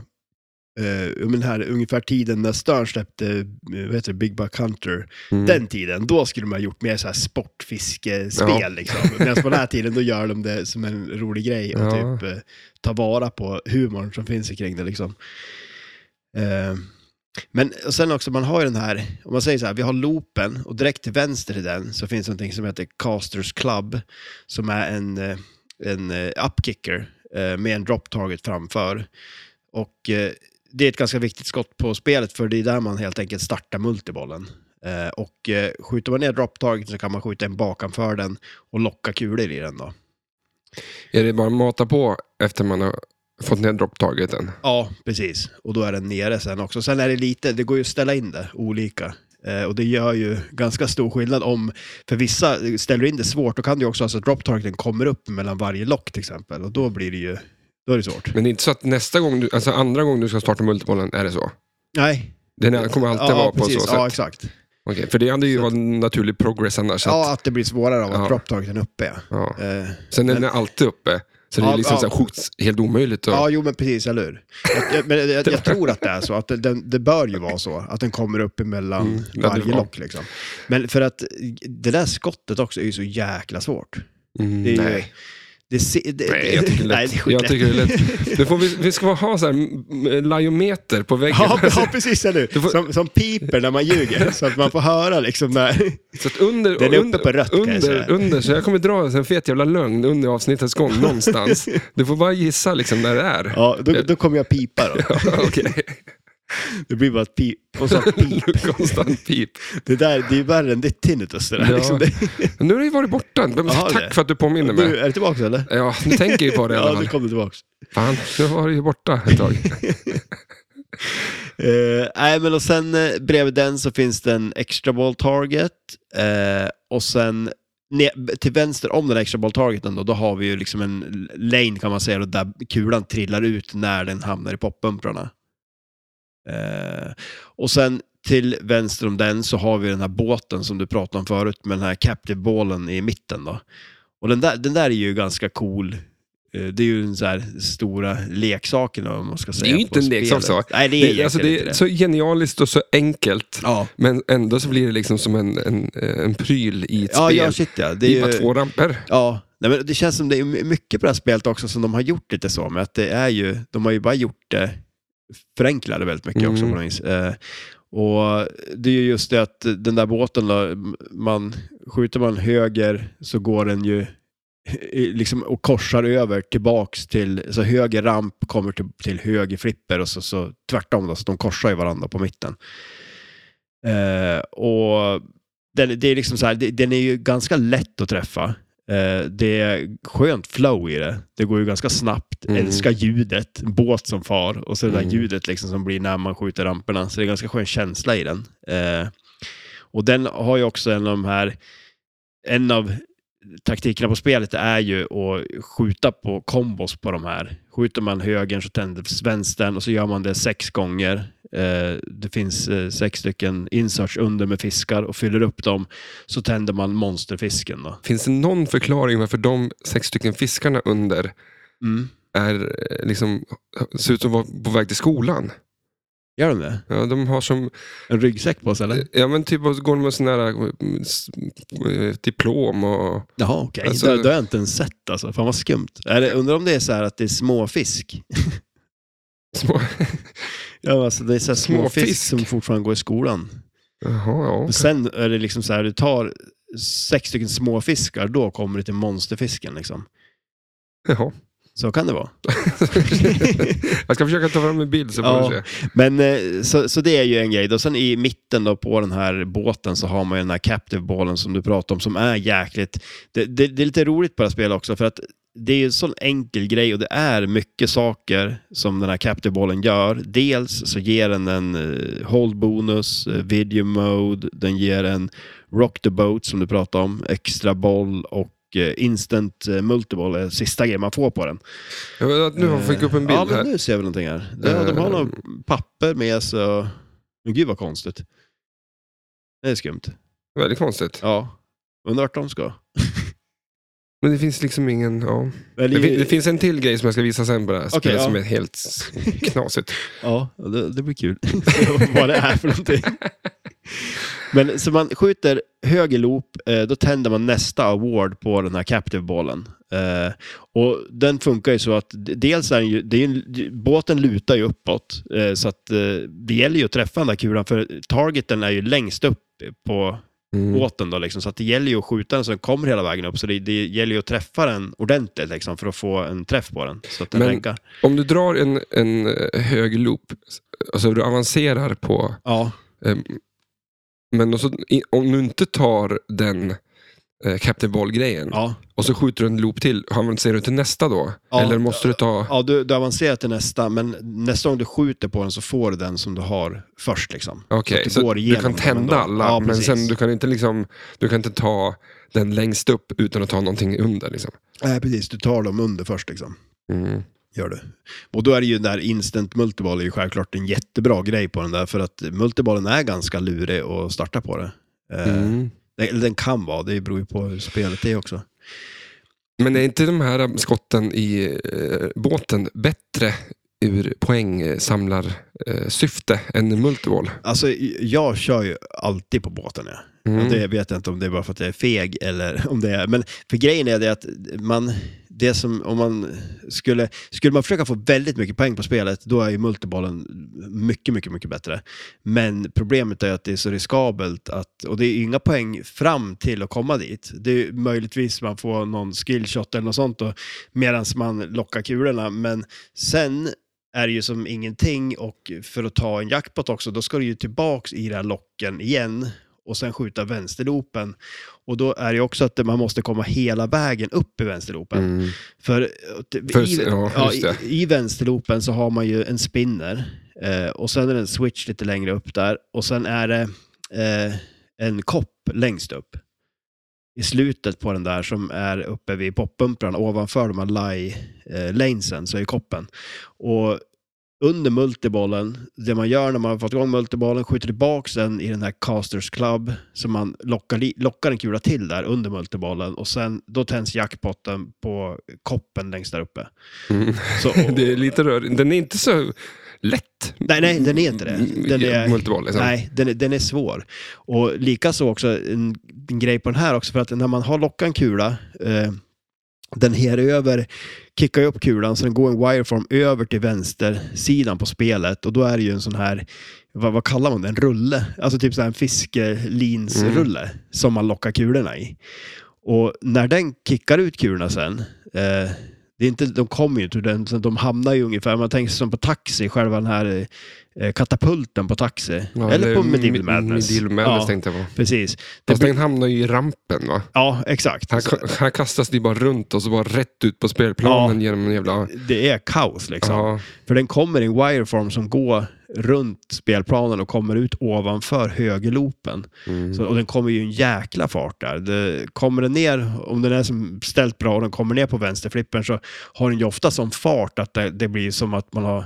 eh, men här, ungefär tiden när Stern släppte eh, vad heter det, Big Buck Hunter, Mm. den tiden, då skulle man ha gjort mer så här sportfiskespel. Ja. Liksom. Medan på den här tiden, då gör de det som en rolig grej och Ja. typ eh, tar vara på humorn som finns kring det. Liksom. Eh, men och sen också, man har ju den här, om man säger så här, vi har loopen och direkt till vänster i den så finns någonting som heter Casters Club som är en, eh, en eh, upkicker eh, med en drop target framför. Och eh, det är ett ganska viktigt skott på spelet för det är där man helt enkelt startar multibollen. Eh, Och eh, skjuter man ner drop target så kan man skjuta en bakanför den och locka kulor i den då. Är det bara att mata på efter man har fått ner dropptargeten? Ja, precis. Och då är den nere sen också. Sen är det lite, det går ju att ställa in det olika. Eh, och det gör ju ganska stor skillnad om, för vissa ställer du in det svårt, då kan det ju också, alltså drop targeten kommer upp mellan varje lock till exempel. Och då blir det ju, då är det svårt. Men det är inte så att nästa gång, du, alltså andra gången du ska starta multibollen är det så? Nej. Den kommer alltid ja, vara på precis. så sätt? Ja, exakt. Okej, för det hade ju Så- varit en naturlig progress annars. att- Ja, att det blir svårare av att Ja. drop targeten är uppe. Ja. ja. Eh, Sen är den alltid uppe. Så det Ja, är liksom så ja. här, sjukt, helt omöjligt. att- Ja, jo men precis, eller hur? Jag, jag, men eh, jag, jag, jag tror att det är så, att det, den- det bör ju vara så, att den kommer upp emellan Mm, ja, det varje var. lock. Liksom. Men för att det där skottet också är ju så jäkla svårt. Mm, Det är nej. Ju, det, se- det, Nej, jag tycker det är nej, lätt. skitlätt. jag tycker det är lätt. Nu får vi, vi ska ha så här, m- m- lajometer på väggen. Ja, ja, precis, eller Du hur? får- Som, som piper när man ljuger, så att man får höra liksom när... Så att under, Den är uppe under, på rött, kan jag säga. under, under, så jag kommer dra en fet jävla lögn under avsnittets gång någonstans. Du får bara gissa liksom när det är. Ja, då, då kommer jag pipa då. Ja, okej. Det blir bara ett pip. Och så pip. Konstant pip. Det där, det är värre än ditt tinnitus det där. Ja. Liksom. Det, Men Nu har du ju varit borta. Men Jaha, Tack det. för att du påminner mig. du, är det tillbaka eller? Ja, nu tänker jag ju på det i alla Ja, nu fall. kom det tillbaka. Fan, nu var du ju borta ett tag. Eh, nej, men och sen eh, bredvid den så finns det en extra ball target. Eh, och sen ne- till vänster om den extra ball targeten då, då har vi ju liksom en l- lane kan man säga, då, där kulan trillar ut när den hamnar i poppumprarna. Eh, och sen till vänster om den så har vi den här båten som du pratade om förut med den här captive ballen i mitten då. Och den där, den där är ju ganska cool. Eh, Det är ju den så här stora leksaken om man ska säga. ju inte på en leksak, spelet. Nej, det är Det, alltså, egentligen det inte är det. så genialiskt och så enkelt. Ja, Men ändå så blir det liksom som en, en, eh, en pryl i ett ja, spel. ja shit ja. Det Det är är bara ju, två ramper. ja. Nej, men det känns som det är mycket på det här spelet också som de har gjort lite så med. Att det är ju, de har ju bara gjort det förenklade väldigt mycket också Mm. på något vis. Eh, och det är ju just det att den där båten då, man, skjuter man höger så går den ju i- liksom, och korsar över tillbaks till, så höger ramp kommer till, till höger flipper och så, så tvärtom då, så de korsar ju varandra på mitten. Eh, och den, det är liksom så här, det, den är ju ganska lätt att träffa. Eh, det är skönt flow i det. Det går ju ganska snabbt. Mm. Älskar ljudet, båt som far och så det där Mm. ljudet liksom som blir när man skjuter ramperna. Så det är ganska skön känsla i den. Eh, och den har ju också en av de här, en av taktikerna på spelet är ju att skjuta på kombos på de här. Skjuter man högern så tänds vänstern och så gör man det sex gånger. Eh, det finns eh, sex stycken inserts under med fiskar och fyller upp dem så tänder man monsterfisken då. Finns det någon förklaring varför de sex stycken fiskarna under Mm. är eh, liksom, ser ut att vara på väg till skolan? Gör de det? Ja, de har som... En ryggsäck på sig eller? Ja, men typ och så går de med sån där eh, s- eh, diplom och... Jaha, okej. Alltså- Det, det har jag inte ens sett alltså. Fan vad skumt. Eller, undrar om det är så här att det är småfisk? Små... Ja, alltså det är så här småfisk, Småfisk. som fortfarande går i skolan. Jaha, ja. Och sen är det liksom så här, du tar sex stycken småfiskar, då kommer du till monsterfisken liksom. Jaha. Så kan det vara. jag ska försöka ta fram en bild så får Ja. vi se. Men eh, så, så det är ju en grej. Då. Sen i mitten då på den här båten så har man ju den här captive ballen som du pratade om som är jäkligt... Det, det, det är lite roligt på det här spelet också för att det är ju en sån enkel grej och det är mycket saker som den här captive ballen gör. Dels så ger den en eh, hold bonus, eh, video mode, den ger en rock the boat som du pratade om, extra boll och eh, instant eh, multiboll är sista grejen man får på den. Jag vet att nu har jag fick upp en bild Eh, Ja, men här. nu ser vi någonting här. De, de har Eh. några papper med sig. och- Men gud vad konstigt. Det är skumt. Väldigt konstigt. Ja. Undrar vart de ska. Men det finns liksom ingen... Ja. Eller, Det, fin- det finns en till grej som jag ska visa sen på det här Okej, spelet ja. som är helt s- knasigt. Ja, det, det blir kul. vad det är för någonting. Men så man skjuter höger loop, eh, då tänder man nästa award på den här captive-bollen. Eh, och den funkar ju så att d- dels är den ju, det är ju, en- båten lutar ju uppåt, eh, så att eh, det gäller ju att träffa den där kulan, för targeten är ju längst upp på Mm. båten då liksom. Så att det gäller ju att skjuta den så den kommer hela vägen upp. Så det, det gäller ju att träffa den ordentligt liksom för att få en träff på den. Så att den Men- länkar. Om du drar en, en eh, hög loop, alltså du avancerar på... Ja. ehm, men och så, i- om du inte tar den eh, Captain Ball-grejen ja. och så skjuter du en loop till, avancerar du till nästa då? Ja. Eller måste du ta... Ja, du, du avancerar till nästa, men nästa gång du skjuter på den så får du den som du har först liksom. Okej, att du så går du igenom kan dem tända ändå. alla, Ja, men precis. sen du kan inte liksom, du kan inte ta den längst upp utan att ta någonting under. Liksom. Nej, precis. Du tar dem under först liksom. Mm. Gör du. Och då är det ju den där instant multiball är ju självklart en jättebra grej på den där, för att multiballen är ganska lurig att starta på det. Eh, Mm. den- Eller den kan vara, det beror ju på hur spelet är också. Men är inte de här skotten i eh, båten bättre ur poängsamlarsyfte eh, än multiball? Alltså, jag kör ju alltid på båten. Ja. Mm. Och det vet jag inte om det är bara för att jag är feg eller om det är... Men för grejen är det att man... Det som, om man skulle, skulle man försöka få väldigt mycket poäng på spelet, då är ju multibollen mycket, mycket, mycket bättre. Men problemet är att det är så riskabelt att, och det är ju inga poäng fram till att komma dit. Det är ju möjligtvis man får någon skillshot eller något sånt då, medan man lockar kulorna. Men sen är det ju som ingenting och för att ta en jackpot också, då ska du ju tillbaks i den här locken igen och sen skjuta vänsterloopen. Och då är det ju också att man måste komma hela vägen upp i vänsterloopen. Mm. För, eh, För- i, ja, ja, just det. i, i vänsterloopen så har man ju en spinner eh, och sen är det en switch lite längre upp där och sen är det eh, en kopp längst upp i slutet på den där som är uppe vid poppumprarna ovanför de här lie eh, lanesen så är koppen. Och under multibollen, det man gör när man har fått igång multibollen, skjuter tillbaks den i den här casters club, så man lockar, li- lockar en kula till där under multibollen och sen då tänds jackpotten på koppen längst där uppe. Mm. Så, Det är lite rörigt. Den är inte så lätt. Mm, Nej, nej, den är inte det. Den är, Multiball, liksom. Nej, den är, den är svår. Och likaså också en, en grej på den här också, för att när man har lockat en kula, eh, den här över kickar ju upp kulan, sen går en wireform över till vänstersidan på spelet och då är det ju en sån här, vad, vad kallar man det, en rulle? Alltså typ så här en fiskelinsrulle Mm. som man lockar kulorna i. Och när den kickar ut kulorna sen, eh, det är inte, de kommer ju inte ur den, så de hamnar ju ungefär, man tänker sig som på taxi, själva den här eh, katapulten på taxi. Ja, Eller på är Medieval Mi- Madness. Medieval Madness ja, tänkte jag på. precis. Det Fast blir, den hamnar ju i rampen va? ja, exakt. Här, här kastas det ju bara runt och så bara rätt ut på spelplanen Ja. genom en jävla... Det är kaos liksom. Ja. För den kommer i en wireform som går runt spelplanen och kommer ut ovanför högerloopen. Mm. Så, och den kommer ju i en jäkla fart där. Det, kommer den ner, om den är som ställt bra och den kommer ner på vänsterflippen så har den ju ofta sån fart att det, det blir som att man har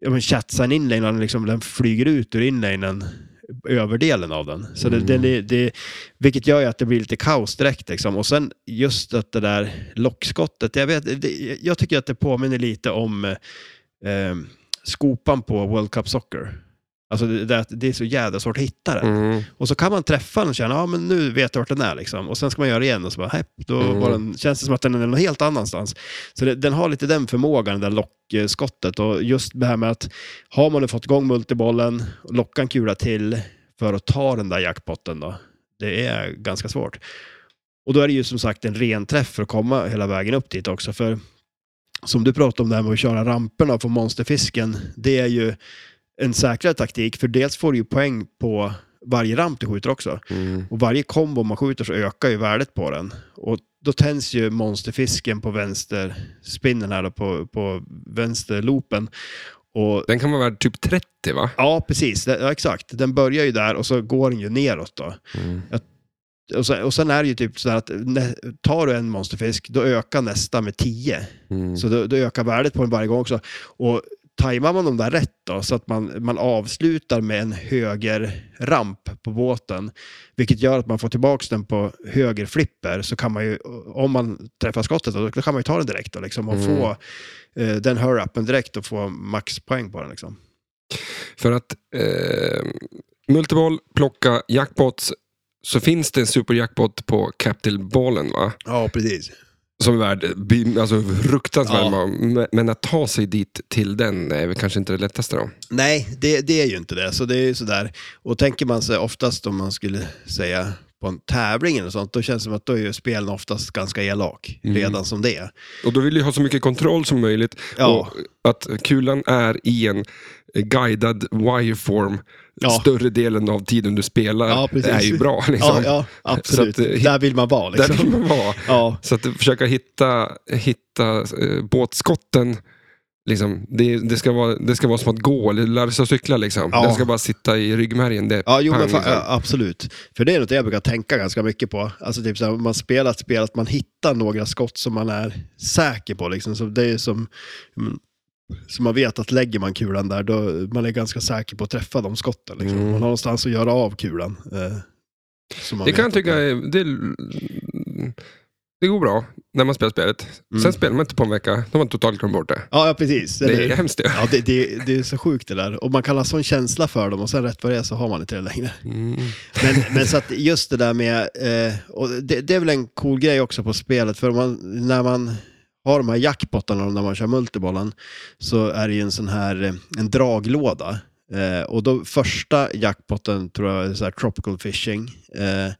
ja, men chatsat en inlane och liksom, den flyger ut ur inlanen överdelen av den. Så det, Mm. den är- det, vilket gör ju att det blir lite kaos direkt. Liksom. Och sen just att det där lockskottet, jag, vet, det, jag tycker att det påminner lite om eh, skopan på World Cup Soccer. Alltså det, det, det är så jävla svårt att hitta den. Mm. Och så kan man träffa den och känna, ja men nu vet jag vart den är liksom. Och sen ska man göra det igen och så bara, hepp, då Mm. var den, känns det som att den är någon helt annanstans. Så det, den har lite den förmågan, det där lockskottet. Och just det här med att, har man nu fått igång multibollen, locka en kula till för att ta den där jackpotten då. Det är ganska svårt. Och då är det ju som sagt en ren träff för att komma hela vägen upp dit också. För som du pratade om det här med att köra ramperna på monsterfisken, det är ju en säkrare taktik. För dels får du ju poäng på varje ramp du skjuter också. Mm. Och varje kombo man skjuter så ökar ju värdet på den. Och då tänds ju monsterfisken på vänster spinnen här då, på, på vänsterloopen. Och Den kan vara värd typ 30 va? ja, precis. Det- Ja, exakt. Den börjar ju där och så går den ju neråt då. Mm. Och sen, och sen är det ju typ så här att nä, tar du en monsterfisk, då ökar nästa med 10. Mm. Så då, då ökar värdet på den varje gång också. Och tajmar man dem där rätt då, så att man, man avslutar med en höger ramp på båten, vilket gör att man får tillbaka den på höger flipper, så kan man ju, om man träffar skottet, då, då kan man ju ta den direkt då, liksom, och Mm. få eh, den hör-upen direkt och få maxpoäng på den. Liksom. För att eh, multiboll, plocka jackpots, så finns det en superjackpot på Capital-bollen va? Ja, precis. Som är värd by- alltså, fruktansvärt Ja. ja. Men att ta sig dit till den är väl kanske inte det lättaste då. Nej, det, det är ju inte det. Så det är ju sådär. Och tänker man sig oftast om man skulle säga på en tävling eller sånt, då känns det som att då är ju spelen oftast ganska elak Mm. redan som det är. Och då vill du ha så mycket kontroll som möjligt. Ja. Och att kulan är i en eh, guidad wireform Ja. större delen av tiden du spelar. Ja, precis. är ju bra. Liksom. Ja, ja absolut. Så att, eh, Där vill man vara liksom. Där vill man vara. Ja, Så att försöka hitta, hitta eh, båtskotten. Liksom, det, det, ska vara, det ska vara som att gå eller lära sig att cykla. Liksom. Ja. Den ska bara sitta i ryggmärgen. Det, är ja jo, pang, men fa- liksom. ja, absolut. För det är något jag brukar tänka ganska mycket på. Alltså typ så här, om man spelar ett spel, att man hittar några skott som man är säker på. Liksom. Så det är ju som, mm, så man vet att lägger man kulan där, då man är ganska säker på att träffa de skotten. Liksom. Mm. Man har någonstans att göra av kulan. Eh, som man det vet kan jag att tycka man- är, det, det går bra när man spelar spelet. Mm. Sen spelar man inte på en vecka, då har man totalt glömt bort det. Ja, ja, precis. Det Eller är hur? hemskt det. Ja, det, det, det är så sjukt det där. Och man kan ha sån känsla för dem och sen rätt vad det är så har man inte det längre. Mm. Men, men så att just det där med, eh, och det, det är väl en cool grej också på spelet, för om man, när man har de här jackpottarna och när man kör multibollen så är det ju en sån här eh, en draglåda. Eh, och då första jackpotten tror jag är så här tropical fishing. Eh,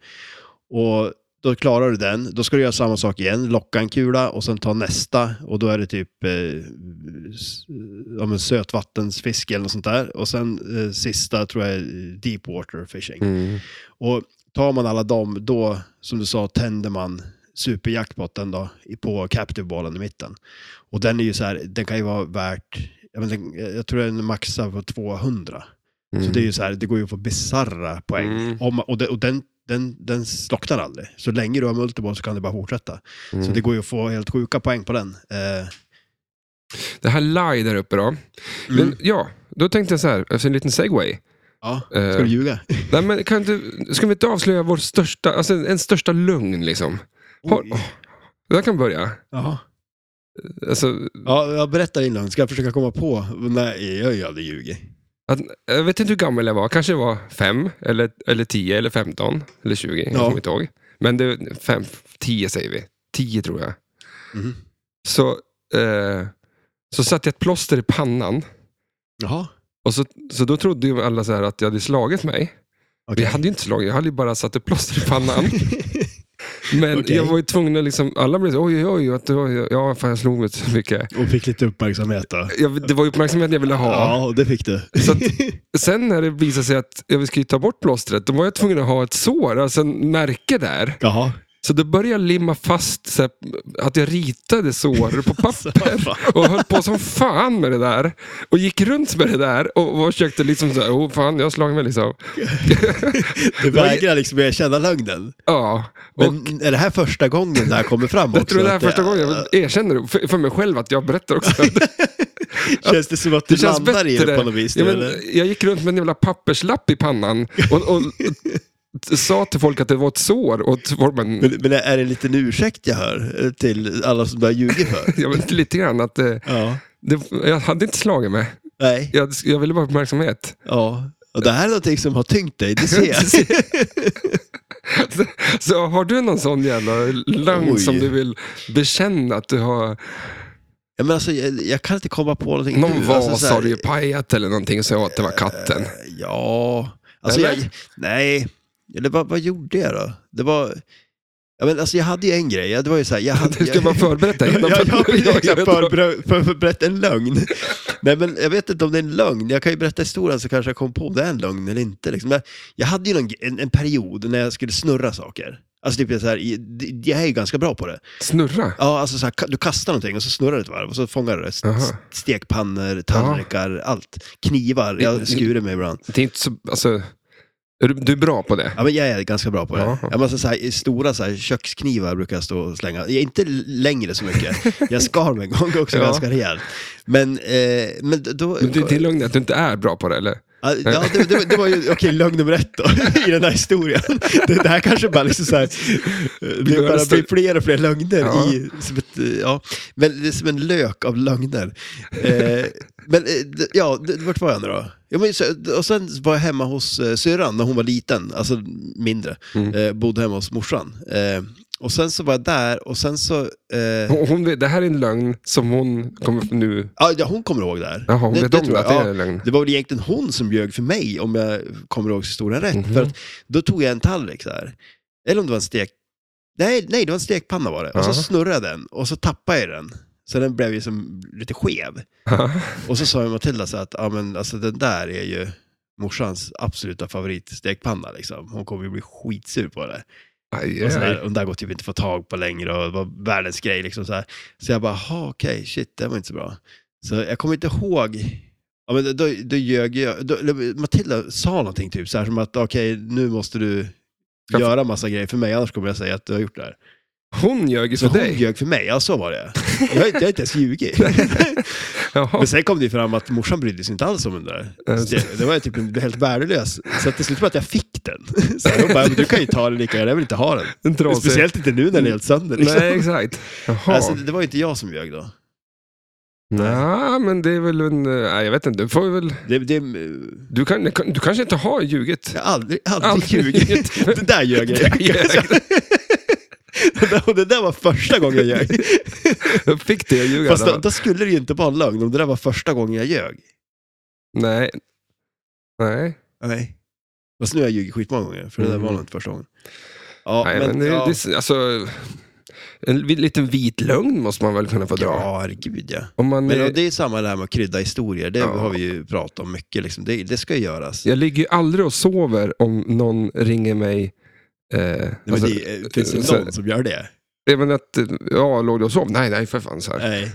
och då klarar du den, då ska du göra samma sak igen, locka en kula och sen ta nästa och då är det typ eh, s- ja, men sötvattensfiske eller något sånt där. Och sen eh, sista tror jag är deep water fishing. Mm. Och tar man alla dem, då som du sa tänder man superjackpotten då i- på captive-bollen i mitten. Och den är ju så här, den kan ju vara värt, jag, men den, jag tror den maxar på 200. Så det är ju så här, det går ju att få bisarra poäng. Mm. Om, och den, och den, den, den slocknar aldrig. Så länge du har multiboll så kan det bara fortsätta. Mm. Så det går ju att få helt sjuka poäng på den. Eh, Det här lie där uppe då. Mm. Men, ja, då tänkte jag så här, efter en liten segway. ja, Eh, ska du ljuga? Nej, men kan du, ska vi inte avslöja vår största, alltså en största lugn liksom? Har, Oj. oh, där kan börja. Jaha. Alltså, Ja, jag berättar din lögn. Ska jag försöka komma på? Nej, jag har ju aldrig ljugit. att, jag vet inte hur gammal jag var, kanske jag var fem, eller, eller tio, eller femton, eller tjugo, jag Ja. kommer inte ihåg. Men det, fem, tio säger vi. Tio tror jag. Mhm. Så, eh, så satte jag ett plåster i pannan. Jaha, Och så, så då trodde ju alla så här att jag hade slagit mig. okej. Jag hade ju inte slagit, jag hade ju bara satt ett plåster i pannan. Men Okej. jag var ju tvungen att liksom, alla blev så oj, oj, oj, att det var- ja, fan jag slog mig så mycket. Och fick lite uppmärksamhet då. Jag, det var ju uppmärksamhet jag ville ha. Ja, och det fick du. Så att, sen när det visade sig att jag skulle ta bort plåstret, då var jag tvungen att ha ett sår, alltså en märke där. Jaha. Så då började jag limma fast så här, att jag ritade sår på Så, papper. fan. Och höll på som fan med det där. Och gick runt med det där och, och försökte liksom såhär, oh fan jag har slagit mig liksom. Du vägrar liksom erkänna lögnen. Ja, och Men är det här första gången det här kommer fram också? jag tror det här är Att första gången jag erkänner det för, för mig själv att jag berättar också. Känns det som att du Det känns landar i det bättre. på något vis? Ja, nu, men, eller? jag gick runt med en jävla papperslapp i pannan och, och, t- sa till folk att det var ett sår. Och t- var man, men, men är det en liten ursäkt jag hör eh, till alla som du har ljugit för? jag vet, lite grann att eh, Ja. det, jag hade inte slagit mig. Nej. Jag, jag ville bara ha uppmärksamhet. Ja. Och det här är någonting som har tyngt dig, det ser jag. Så har du någon sån jävla lögn Oj. som du vill bekänna att du har Ja, men alltså, jag, jag kan inte komma på någonting Någon vas Alltså, så här- har du ju pajat eller någonting och sa att det var katten. Ja, alltså Eller? jag, nej. Eller vad, vad gjorde jag då? Det var... Ja, men alltså jag hade ju en grej. Ja, Det var ju så här, jag hade, Det ska jag, man förberett dig jag, jag, jag, har precis Jag- jag- förberett- förberett en lögn. Nej, men jag vet inte om det är en lögn. Jag kan ju berätta historien så kanske jag kom på om det är en lögn eller inte. Liksom. Jag, jag hade ju någon, en, en period när jag skulle snurra saker. Alltså typ så här, i- jag är ju ganska bra på det. Snurra. Ja, alltså så här, ka- du kastar någonting och så snurrar det ett varv och så fångar du det. St- Aha. st- Stekpannor, tallrikar, allt. Knivar, Mm. jag skurer mig ibland. Det är inte så, alltså, är du, du är bra på det. Ja, men jag är ganska bra på det. Ja. Ja. men alltså, så här, stora så här, köksknivar brukar jag stå och slänga. Jag är inte längre så mycket. Jag skar mig en gång också Ja. ganska rejält. Men, eh, men då... Men det, det är lugnt att du inte är bra på det, eller? Ja, ja, det, det, det var ju okej, lögn nummer ett då, i den här historien. Det, det här kanske bara liksom så här, det bara blir fler och fler lögner. Ja. I, som ett, eh, ja, men det är som en lök av lögner. Eh, men eh, d- ja, d- vart var jag nu då? Ja, men, så- och sen var jag hemma hos eh, syrran när hon var liten, alltså mindre. Mm. Eh, bodde hemma hos morsan. Eh, och sen så var jag där och sen så... Eh, Hon, hon, vet- det här är en lögn som hon kommer nu... ja, ja, hon kommer ihåg det här. Jaha, hon vet om tror det, jag. att det Ja. är en lögn. Det var väl egentligen hon som ljög för mig, om jag kommer ihåg historien rätt. Mhm. För att då tog jag en tallrik så här. Eller om det var en stek... Nej, nej det var en stekpanna var det. Och så Ja. snurrade jag den och så tappade jag den. Så den blev ju som lite skev. Och så sa ju Matilda så här att ja, men, alltså, den där är ju morsans absoluta favoritstekpanna. Liksom. Hon kommer ju bli skitsur på det. Aj, Och så aj. här, och den där går typ inte att få tag på längre och det var världens grej. Liksom så, här. så jag bara, "Ha, okej, shit, det var inte så bra. Så jag kommer inte ihåg. Ja, men då, då ljög jag. Då, eller Matilda sa någonting typ så här som att, okej, nu måste du Ska jag göra massa grejer för mig, annars kommer jag säga att du har gjort det här. Hon ljög ju Så för hon dig. ljög för mig, ja så var det. Jag har inte, jag har inte ens ljugit. Jaha. Men sen kom det ju fram att morsan brydde sig inte alls om den där. Eh, Så Det, det var ju typ en- helt värdelös. Så att till slut var det att jag fick den. Så hon bara, "Men du kan ju ta den lika gärna, jag vill inte ha den. En trasig. Speciellt inte nu när den är helt sönder. Liksom. Nej, exakt. Jaha. Alltså, det var ju inte jag som ljög då. Nej, men det är väl en... eh, Nej, jag vet inte. Du, får väl, Det, det, du, kan, du kanske inte har ljugit. jag har aldrig, aldrig, Aldrig ljugit. ljugit. Det där ljög jag. Det ljög. Det där- och det där var första gången jag ljög. Jag fick det att ljuga. Fast då. då, då skulle det ju inte vara en lögn om det där var första gången jag ljög. Nej. Nej. Nej. Fast nu har jag ljugit skitmånga gånger, för det där Mm. var nog inte första gången. Ja, Nej, men, det, ja. det, alltså, en vi- liten vit lögn måste man väl kunna få dra. ja, herregud ja. Om man, Men eh, och det är samma det här med att krydda historier, det Ja. har vi ju pratat om mycket. Liksom. Det, det ska ju göras. Jag ligger ju aldrig och sover om någon ringer mig. Eh, Nej, alltså, men det eh, finns ju så- någon som gör det. även att, eh, ja, låg du och sov? Nej, nej, för fan. Så här. Nej.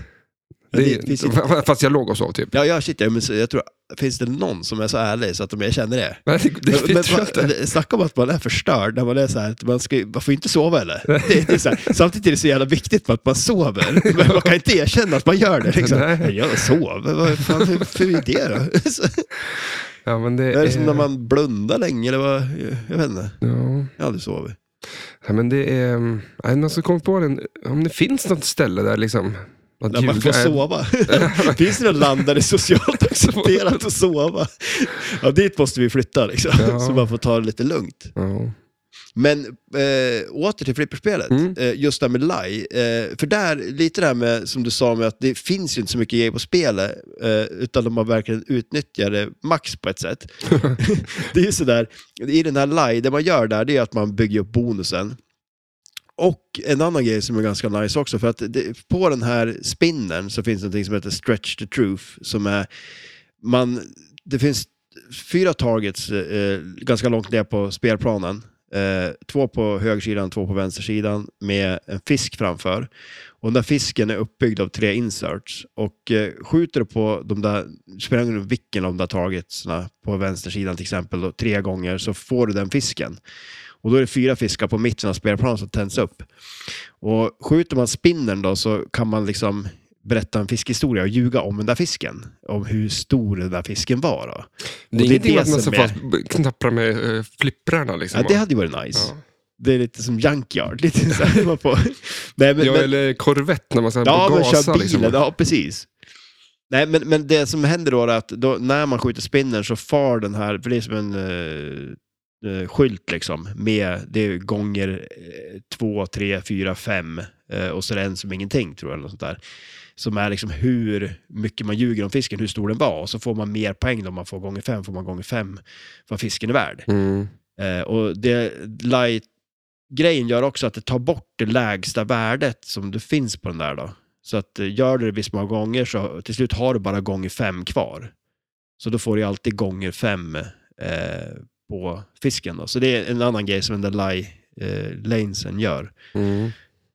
Men det, det finns ju- fa- fast jag låg och sov typ. Ja, ja shit, ja, men så, jag tror, finns det någon som är så ärlig så att de erkänner det? Nej, det, det, Men- det, men tror jag va- inte. det- Snacka om att man är förstörd när man är så här, att man, ska, ju- man får ju inte sova eller? Det, det är typ så här, samtidigt är det så jävla viktigt att man sover, men man kan inte erkänna att man gör det. Liksom. Nej. Nej, Jag sover, vad fan för, för idé då? Så, Ja, men det, det är som är- när man blundar länge eller vad, jag vet inte, Ja, jag har aldrig sovit. Ja, men det är... mm, Nej, någon som kom på den, om det finns något ställe där liksom... Att När man får är- sova. Finns det något land där det är socialt accepterat att sova? Ja, dit måste vi flytta liksom, Ja. så man får ta det lite lugnt. Ja. Men eh, åter till flipperspelet, Mm. eh, just det här med lie. Eh, för där, lite det här med, som du sa, med att det finns ju inte så mycket grejer på spelet, eh, utan de har verkligen utnyttjat det max på ett sätt. det är ju sådär, i den här lie, det man gör där, det är att man bygger upp bonusen. Och en annan grej som är ganska nice också, för att det, på den här spinnen så finns någonting som heter Stretch the Truth, som är, man, det finns fyra targets eh, ganska långt ner på spelplanen. Eh, två på högersidan, två på vänstersidan med en fisk framför. Och den där fisken är uppbyggd av tre inserts. Och eh, skjuter du på de där, spelar ingen roll vilken av de där targetsna på vänstersidan till exempel, då, tre gånger så får du den fisken. Och då är det fyra fiskar på mitten av spelplanen som tänds upp. Och skjuter man spinnern då så kan man liksom berätta en fiskhistoria och ljuga om den där fisken. Om hur stor den där fisken var då. Det det är är ingenting det att man ska som fast knappra med uh, flipprarna liksom. Ja, det hade ju varit nice. Ja. Det är lite som junkyard. Lite så här man får... Nej, men, ja, men, eller korvett när man ska ja, men gasa. kör bilen. liksom. Ja, precis. Nej, men, men det som händer då är att då, när man skjuter spinnern så far den här, för det är som en eh, eh, skylt liksom, med det är gånger eh, två, tre, fyra, fem eh, och så är det en som ingenting tror jag, eller något sånt där. Som är liksom hur mycket man ljuger om fisken, hur stor den var. Och så får man mer poäng då, om man får gånger fem, får man gånger fem vad fisken är värd. Mm. Eh, och det light-grejen gör också att det tar bort det lägsta värdet som det finns på den där då. Så att eh, gör du det visst många gånger så till slut har du bara gånger fem kvar. Så då får du ju alltid gånger fem eh, på fisken då. Så det är en annan grej som den där lie, eh, lanesen gör. Mm.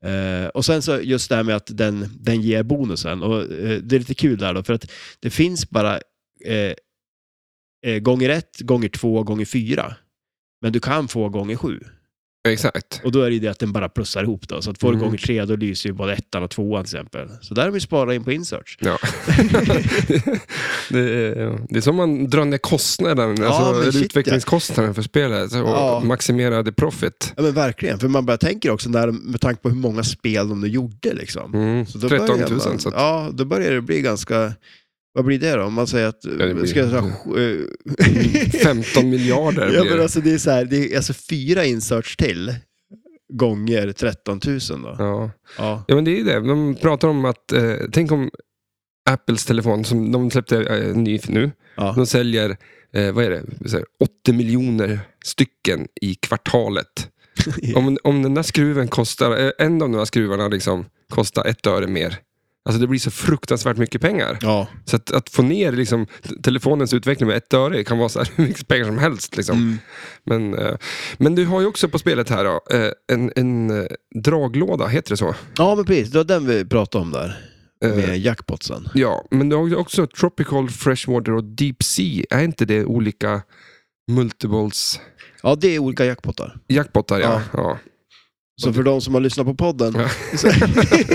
Eh, och sen så just det här med att den, den ger bonusen. Och, eh, det är lite kul där då, för att det finns bara eh, eh, gånger ett, gånger två, gånger fyra. Men du kan få gånger sju. Exakt. Och då är det ju det att den bara plussar ihop då. Så att får du Mm. gånger tre, då lyser ju både ettan och tvåan till exempel. Så där har vi sparat in på insearch. Ja. det, är, det är som man drar ner kostnaden, Ja, men alltså shit, ja. utvecklingskostnaden för spelet och Ja. maximerar the profit. Ja men verkligen, för man börjar tänka också där, med tanke på hur många spel de nu gjorde liksom. Mm. Så då 13 börjar 000. Man, så att, Ja, då börjar det bli ganska... Vad blir det då? Om man säger att... det blir- Mm. Ska jag säga, eh, 15 miljarder ja, blir men det. alltså det är så här, det är alltså fyra inserts till gånger 13 000 då. Ja. Ja. ja, men det är ju det. De pratar om att, eh, tänk om Apples telefon, som de släppte eh, ny nu, Ja. de säljer eh, vad är det? Så här, 80 miljoner stycken i kvartalet. Om, om den där skruven kostar, eh, en av de där skruvarna liksom, kostar ett öre mer. Alltså det blir så fruktansvärt mycket pengar. ja. Så att, att få ner liksom, t- telefonens utveckling med ett öre kan vara så här, hur mycket pengar som helst. Liksom. Mm. Men, eh, men du har ju också på spelet här då, eh, en, en eh, draglåda, heter det så? ja, men precis. Det var den vi pratade om där. Eh, Med jackpotsen. Ja, men du har ju också Tropical Freshwater och Deep Sea. Är inte det olika multiballs Ja, det är olika jackpottar. jackpottar? Ja. ja. Så för de som har lyssnat på podden. Ja. Så,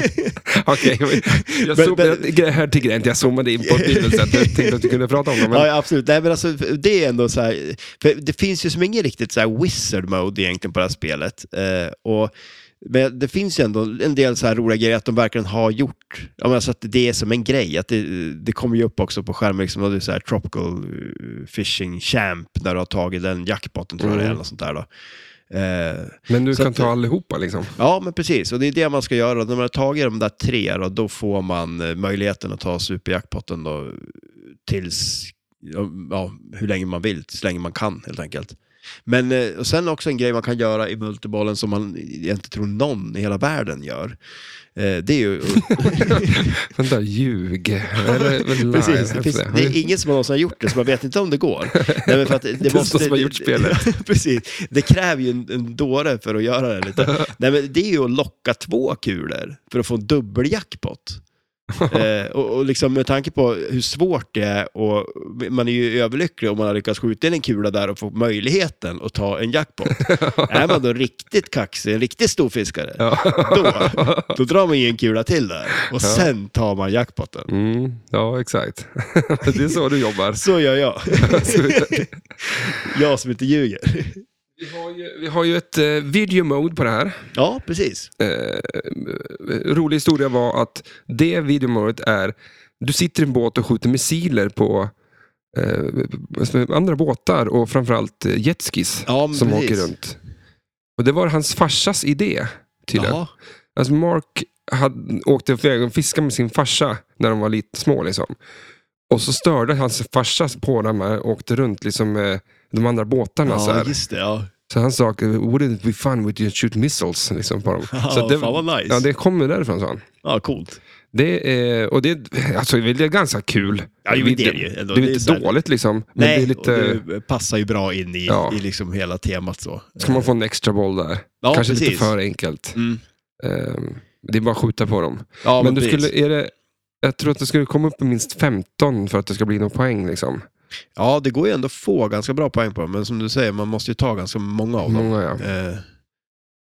Okej, jag, Men- zoom- men- jag- gre- här till grejen, jag zoomade in på ett bibelsätt. Jag tänkte att du kunde prata om det. Men, ja, ja, absolut. Nej, men alltså, det är ändå så här, för det finns ju som ingen riktigt så här wizard mode egentligen på det här spelet. Eh, och, men det finns ju ändå en del så här roliga grejer att de verkligen har gjort. Ja, men alltså att det är som en grej. Att det, det kommer ju upp också på skärmen, liksom, och det är så här tropical eh, fishing champ när du har tagit den jackpotten tror jag det är, Mm. eller något sånt där då. Eh, men du Så kan att- ta allihopa liksom. Ja, men precis. Och det är det man ska göra. När man har tagit de där tre, då, då får man eh, möjligheten att ta superjackpotten då, tills, ja, hur länge man vill, så länge man kan helt enkelt. Men eh, och sen också en grej man kan göra i multibollen som man inte tror någon i hela världen gör. Eh, Det är ju... Den där ljug. Eller, väl live, Precis, det, heter finns, det är ingen som någonsin har gjort det, så man vet inte om det går. Nej, men för att Det är någon som har gjort spelet. Precis, det kräver ju en, en dåre för att göra det lite. Nej, men det är ju att locka två kulor för att få en dubbeljackpot. eh, och, och liksom med tanke på hur svårt det är, och man är ju överlycklig om man har lyckats skjuta in en kula där och få möjligheten att ta en jackpot. är man då riktigt kaxig, en riktigt stor fiskare, då, då drar man ju en kula till där och sen tar man jackpoten. Mm, ja, exakt. det är så du jobbar. Så gör jag. jag som inte ljuger. Vi har ju, vi har ju ett eh, video mode på det här. Ja, precis. Eh, rolig historia var att det videomålet är, du sitter i en båt och skjuter missiler på eh, andra båtar och framförallt eh, jetskis Ja, men som precis. åker runt. Och det var hans farsas idé tydligen. Jaha. Alltså Mark hade, åkte iväg och fiskade med sin farsa när de var lite små. Liksom. Och så störde hans farsa på dem och åkte runt liksom, med de andra båtarna. så, Ja, Alltså här. just det. Ja. så han sa, wouldn't it be fun with you shoot missiles liksom, på dem. så Ja, det, fan vad nice. ja, det kommer därifrån sa han. Ja, coolt. Det är, och det, alltså, det är ganska kul. Ja, jo, men det är det ju ändå. Det Det är är inte så här- dåligt liksom. Men Nej, det är lite, och det passar ju bra in i, Ja. i liksom hela temat så. ska man få en extra boll där. Ja, Kanske precis. lite för enkelt. Mm. Ehm, det är bara att skjuta på dem. Ja, men men, du precis. skulle, är det, jag tror att det skulle komma upp i minst 15 för att det ska bli någon poäng. Liksom. ja, det går ju ändå att få ganska bra poäng på dem, men som du säger, man måste ju ta ganska många av dem. Många, Mm. ja. Eh,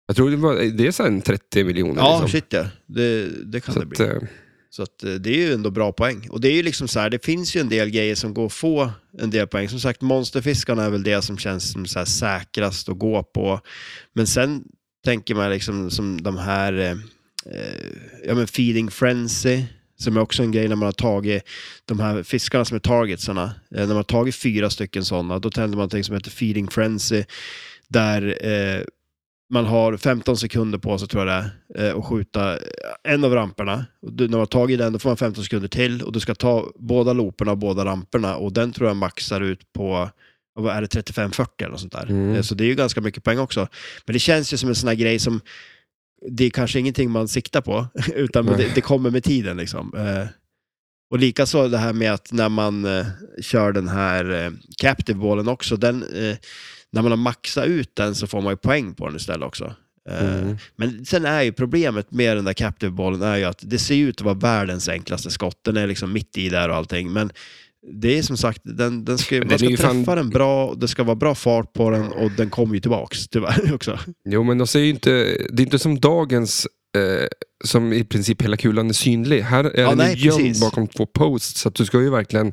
Jag tror det, var, det är så här en 30 miljoner. ja, liksom. shit ja. Det, det kan så det bli. att, eh, Så att, eh, det är ju ändå bra poäng. Och det är ju liksom så här, det finns ju en del grejer som går att få en del poäng. Som sagt, monsterfiskarna är väl det som känns som så här säkrast att gå på. Men sen tänker man liksom som de här, eh, eh, ja men feeding frenzy, Som är också en grej när man har tagit de här fiskarna som är targetsarna. Eh, när man har tagit fyra stycken sådana, då tänder man någonting som heter feeding frenzy. Där eh, man har 15 sekunder på sig, tror jag det är, eh, att skjuta en av ramperna. Och du, när man har tagit den, då får man 15 sekunder till. Och du ska ta båda looperna och båda ramperna. Och den tror jag maxar ut på, vad är det, 35-40 eller något sånt där. Mm. Eh, Så det är ju ganska mycket poäng också. Men det känns ju som en sån här grej som det är kanske ingenting man siktar på, utan Nej. det, det kommer med tiden. Liksom. Eh, och likaså det här med att när man eh, kör den här eh, captive ballen också, den, eh, när man har maxat ut den så får man ju poäng på den istället också. Eh, Mm. Men sen är ju problemet med den där captive ballen är ju att det ser ut att vara världens enklaste skott. Den är liksom mitt i där och allting. Men det är som sagt, den, den ska, den man är ska ju träffa fan- den bra, det ska vara bra fart på den och den kommer ju tillbaks tyvärr också. Jo, men de säger ju inte, det är inte som dagens, eh, som i princip hela kulan är synlig. Här är den nej, ju gömd precis. bakom två posts, så att du ska ju verkligen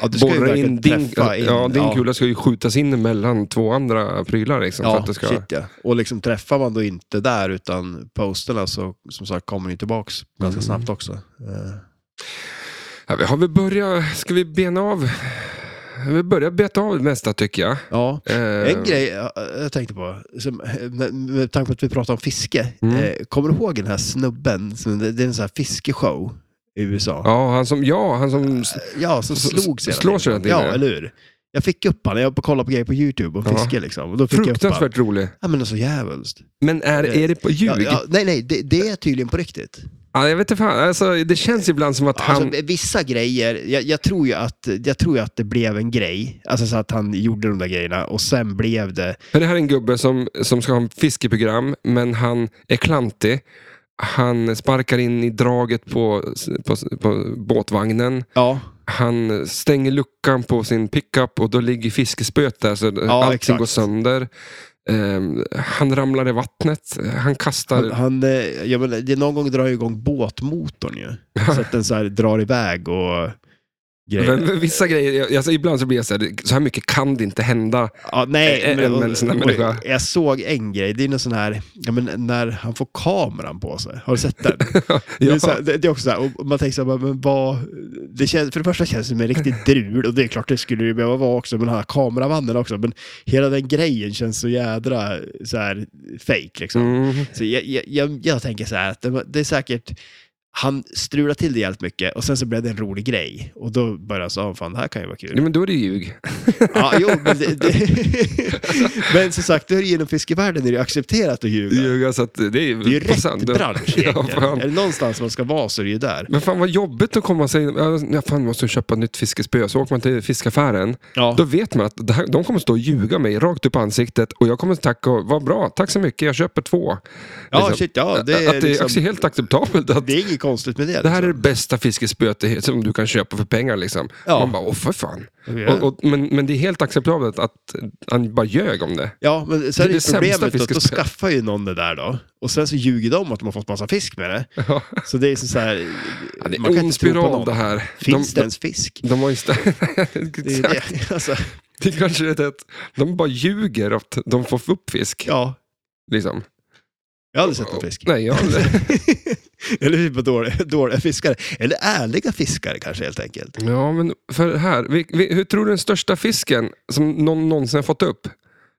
Ja, du ska ju borra verkligen in din, träffa in. ja, din kula ska ju skjutas in mellan två andra prylar. Liksom, för Ja, att det ska... shit ja. Och liksom träffar man då inte där utan posterna så som sagt kommer ni tillbaks ganska Mm. snabbt också. Eh, Ja, vi har vi börjat, ska vi bena av? Vi börjar beta av det mesta tycker jag. Ja. Eh, En grej jag, jag tänkte på, som, eh, med, med tanke på att vi pratar om fiske. Mm. Eh, kommer du ihåg den här snubben? Som, det det är en sån här fiskeshow i USA. Ja, han som, ja, han Eh, som Ja, som S- slogs hela slås hela tiden, Ja, ja. eller hur? Jag fick upp han, jag var på- kollade på grejer på YouTube om Ja. fiske liksom. Och då fick jag upp han. fruktansvärt rolig. Ja, men det är så jävligt. Men är, är det på ljug? Ja, ja, nej, nej, det, det är tydligen på riktigt. Ja, jag vet inte fan, alltså, det känns ibland som att han... Alltså, vissa grejer, jag, jag, tror ju att, jag tror ju att det blev en grej. Alltså så att han gjorde de där grejerna och sen blev det... För det här är en gubbe som, som ska ha en fiskeprogram, men han är klantig. Han sparkar in i draget på, på, på båtvagnen. Ja, Han stänger luckan på sin pickup och då ligger fiskespöet där så allting exakt. går sönder. Ehm, han ramlar i vattnet. Han kastar... han, han, eh, jag menar, det är någon gång drar ju igång båtmotorn ju. Så att den så här drar iväg och grejer. Men Vissa grejer, jag- alltså ibland så blir jag så här, så här mycket kan det inte hända. Ja, nej, Ä- ä- en sån här människa. jag såg en grej, det är någon sån här, ja, men när han får kameran på sig. Har du sett den? Det, är Ja, så här, det, det är också så här, och man tänker så här, men vad, det känns, för det första känns det som en riktig drul och det är klart det skulle det ju behöva vara också med den här kameramannen också, men hela den grejen känns så jädra så här fake liksom. mm, Så jag, jag, jag, jag tänker så här att det, var- det är säkert, han strulade till det jävligt mycket och sen så blev det en rolig grej och då började jag säga, fan det här kan ju vara kul. ja, men då är det ljug. Ja, jo, men, det, det, men som sagt, då är det inom fiskevärlden är det ju accepterat att ljuga. Ljuga, så alltså att det är ju Det är ju på sand. rätt bransch egentligen. Ja, fan. är det någonstans man ska vara så är det ju där. Men fan vad jobbigt att komma och säga, "Ja, jag fan måste jag köpa ett nytt fiskespö. Så åker man till fiskaffären. Ja. Då vet man att det här, de kommer stå och ljuga mig rakt upp i ansiktet och jag kommer tacka och vad bra, tack så mycket, jag köper två. Ja, Liksom. shit, ja. Det att är, det är liksom, också helt acceptabelt att det är inget konstigt med det. liksom. det här är det bästa fiskespöet det- som du kan köpa för pengar. Liksom. Ja. Man bara, åh för fan. liksom. Och, och, men, men det är helt acceptabelt att han bara ljög om det. Ja, men sen det är är ju det sämsta problemet då att då fiskespö. skaffar ju någon det där då. Och sen så ljuger de att de har fått massa fisk med det. Ja. Så det är som så här, Ja, det man är kan ond inte tro på spiral någon. det här. Finns de, det ens fisk? de, de har ju Det är stä- ju det. Alltså, Det kanske är det att de bara ljuger att de får upp fisk. ja, Liksom. jag har aldrig sett någon fisk. Nej, jag har aldrig. Eller typ dåliga, dåliga fiskare. Eller ärliga fiskare kanske helt enkelt. Ja, men för här. Vi, vi, hur tror du den största fisken som någon någonsin har fått upp?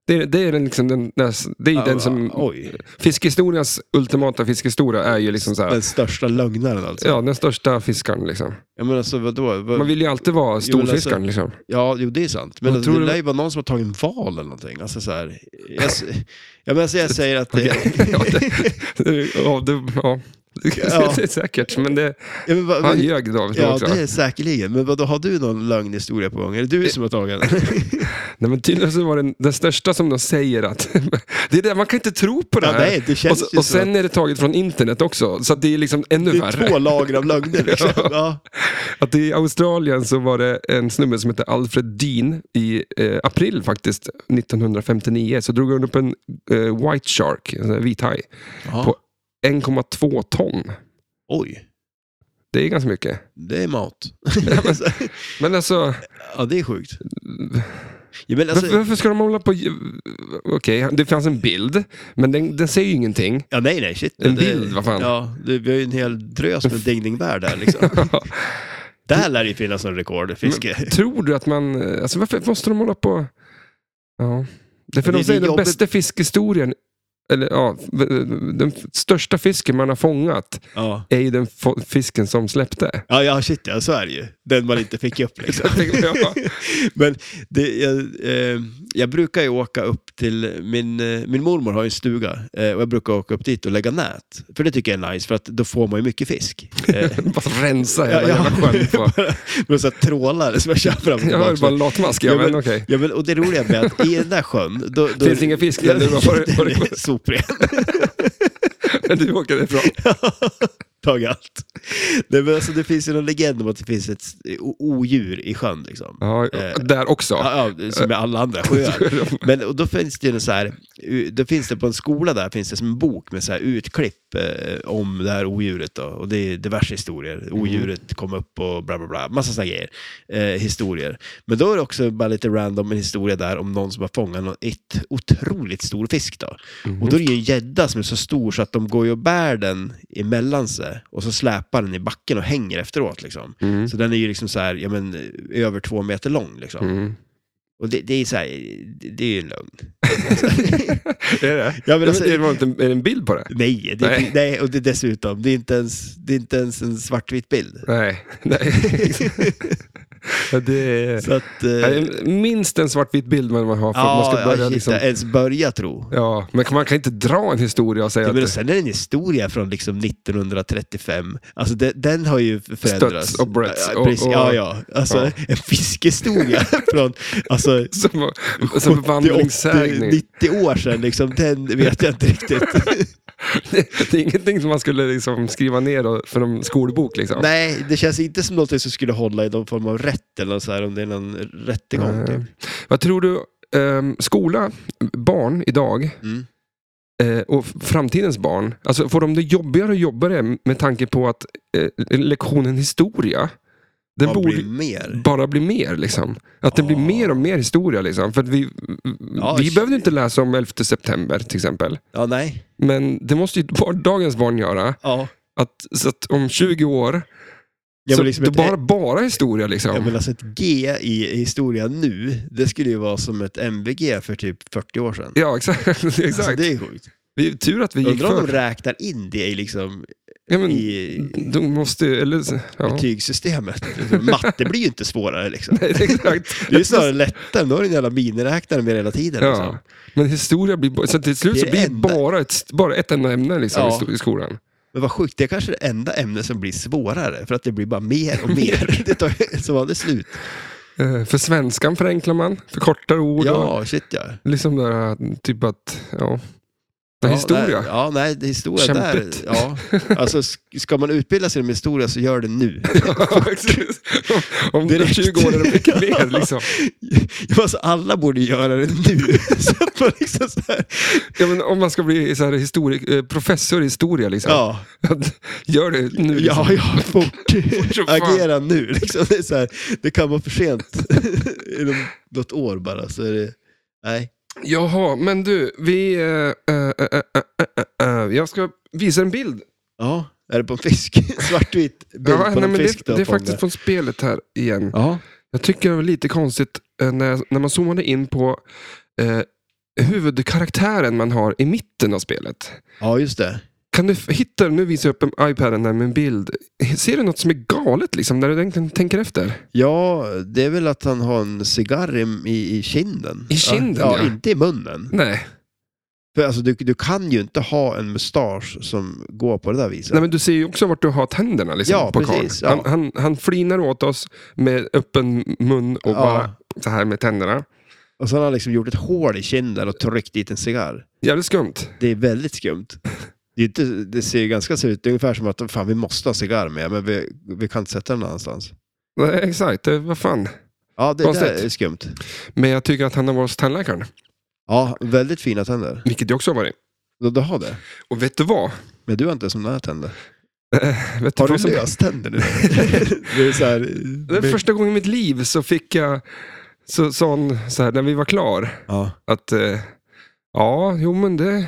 Det är, det är den, liksom den, den, det är ju den som... Oj, Fiskhistoriens ultimata fiskhistoria är ju liksom så här, den största lögnaren alltså. Ja, den största fiskaren liksom. Jag menar alltså vadå? Vad- Man vill ju alltid vara Jo, men alltså- storfiskaren liksom. Ja, jo det är sant. Men Vad alltså, tror det du- lär ju vara någon som har tagit en val eller någonting. Alltså så här, jag, s- ja, men alltså, jag säger att det... Ja, det, ja, det, ja. Ja. det är säkert, men det, ja, men, vad- han men, ljög då också. ja, det är säkerligen. Men vadå, har du någon lögnhistoria på gång? Är det du som har tagit den? Nej, men tydligen så var den, den största som de säger att det är det, man kan inte tro på det Ja, här. nej, det känns och, ju och så sen är det taget från internet också, så att det är liksom ännu Det värre. är två lager av lögner liksom. Ja. Att I Australien så var det en snubbe som hette Alfred Dean i eh, april faktiskt, 1959, så drog han upp en eh, white shark, en sån här vit haj, Ja. På- 1,2 ton. Oj, Det är ganska mycket. det är mat. Men alltså, ja, det är sjukt. Ja, men alltså, varför, varför ska de hålla på... Okej, det fanns en bild, men den, den säger ju ingenting. ja, nej, nej, shit. En Det- bild, vad fan. Ja, det, vi har ju en hel drös med dingningbär där liksom. där lär det ju finnas någon rekordfiske. Tror du att man... Alltså varför måste de hålla på... Ja. Det är för Det- de säger det är den jobbigt. bästa fiskhistorien, eller ja, den största fisken man har fångat Ja. är ju den fo- fisken som släppte. Ja, ja, shit ja, så är det ju. Den man inte fick upp liksom. Ja. Men det, jag, eh, jag brukar ju åka upp till, min, eh, min mormor har ju en stuga eh, och jag brukar åka upp dit och lägga nät. För det tycker jag är nice, för att då får man ju mycket fisk. Eh, bara rensa hela jävla sjön på. bara, med så här trålare som jag kör fram och Jag hör tillbaka. bara latmask, ja, Ja, men- men okej. Ja, men, och det roliga med att i den där sjön... Då, då, Finns inga fisk där, Ja, det är bara- bara- bara- det är Sopren. Du åker därifrån. Tag allt. Nej, men alltså, det finns ju någon legend om att det finns ett o- odjur i sjön. Liksom. Ja, Eh, där också. Ja, ja, som med alla andra sjöar. Men och då finns det ju en så här, då finns det på en skola där finns det som en bok med så här utklipp eh, om det här odjuret då. Och det är diverse historier. Odjuret kom upp och bla bla bla. Massa sådana grejer. Eh, historier. Men då är det också bara lite random en historia där om någon som har fångat någon, ett otroligt stor fisk då. Mm. Och då är det ju en gädda som är så stor så att de går ju och bär den emellan sig. Och så släpar den i backen och hänger efteråt liksom. Mm. Så den är ju liksom så här, ja men eh, över två meter lång liksom. Mm. Och det, det är så här, det, det är ju en lögn. Är det? Ja, men Men alltså, det var inte en, är det en bild på det? nej, det, Nej. nej. och det, dessutom, det är, inte ens, det är inte ens en svartvit bild. Nej. Nej. Ja, det är... Så att... eh, Ja, det är Minst en svartvit bild man har för att man ja, ska börja ja, shit, liksom... ens börja tro. Ja, men man kan inte dra en historia och säga Ja, att men och det sen är det en historia från liksom 1935. Alltså de, den har ju förändrats. Stötts och brötts Ja, och- precis. och- ja, ja. Alltså ja. en fiskhistoria från alltså, som, var- som 80, vandringssägning. 90 år sedan. Liksom, den vet jag inte riktigt. Det är ingenting som man skulle liksom skriva ner då för en skolbok. Liksom. Nej, det känns inte som något som skulle hålla i någon form av rätt eller så här, om det är någon rättegång. Eh, Typ. Vad tror du, ehm, skola, barn idag Mm. eh, och f- framtidens barn, alltså får de det jobbigare och jobbigare med tanke på att eh, lektionen historia, den Vad borde blir mer? bara bli mer. Liksom. Att det blir Ja. mer och mer historia. Liksom. För att vi Ja, vi shit. behöver inte läsa om 11 september till exempel. Ja, nej. Men det måste ju var- dagens barn göra. Ja. Att, så att om 20 år, Jag så vill liksom det ett, bara, bara historia liksom. jag vill alltså ett G i historia nu, det skulle ju vara som ett MVG för typ 40 år sedan. Ja, exakt. exakt. Alltså, det är sjukt. Vi, tur att vi gick Undrar om de för. räknar in det i, liksom, Ja, men, i typ- de måste ju- eller, ja. betygssystemet. Liksom, Matte blir ju inte svårare liksom. Nej, exakt. Det är ju snarare lättare, då har du en jävla miniräknare med hela tiden. Liksom. Ja. Men historia blir bara, så till slut Det så är det blir det enda. bara ett, bara ett enda ämne liksom, Ja. i sto- i skolan. Men vad sjukt, det är kanske det enda ämnet som blir svårare, för att det blir bara mer och mer. Det tar ju som aldrig slut. Eh, För svenskan förenklar man, förkortar ord och Ja, shit ja. liksom där, eh, typ att, ja. Ja, ja historia. Nej, ja, nej, det är historia Kämpigt. där. Ja. Alltså, sk- ska man utbilda sig med historia så gör det nu. Ja, precis. om om Direkt. 20 år är det mycket mer liksom. Ja, Alltså, alla borde göra det nu. Så att man liksom så här, Ja, men om man ska bli så här histori- eh, professor i historia, liksom. ja, gör det nu. Liksom. ja, ja, fort. som fan. Agera nu. Liksom. Det, är så här, det kan vara för sent. Inom något år bara. Så är det, nej. Jaha, men du, vi... eh, eh, eh, eh, eh, eh, jag ska visa en bild. Ja, är det på en fisk? Svartvit bild Ja, på nej, en men fisk. det, då, det är på den faktiskt där. från spelet här igen. Ja. Jag tycker det var lite konstigt eh, när, jag- när man zoomade in på eh, huvudkaraktären man har i mitten av spelet. ja, just det. Kan du f- hitta, nu visar jag upp en iPaden där med en bild. Ser du något som är galet liksom, när du egentligen tänker efter? Ja, det är väl att han har en cigarr i, i, i kinden. I kinden, ja. ja. inte i munnen. Nej. För alltså, du, du kan ju inte ha en mustasch som går på det där viset. Nej, men du ser ju också vart du har tänderna liksom, Ja, på karln. precis, ja. Han, han, han flinar åt oss med öppen mun och Ja. bara så här med tänderna. Och så har han liksom gjort ett hål i kinden och tryckt dit en cigarr. Jävligt skumt. Det är väldigt skumt. Det, är inte, det ser ju ganska så ut, det är ungefär som att fan, vi måste ha en cigarr med, men vi, vi kan inte sätta den någon annanstans. Nej, exakt, det, vad fan. Ja, det där Konstigt. är skumt. Men jag tycker att han har varit hos tandläkaren, Ja, väldigt fina tänder. vilket jag också har varit. Du, du har det. Och vet du vad? Men du har inte sådana tänder. Vet Har vad du som- löständer nu? det är så här, Det är första gången i mitt liv så fick jag så sa hon så här, när vi var klar, Ja. att eh, ja, jo men det,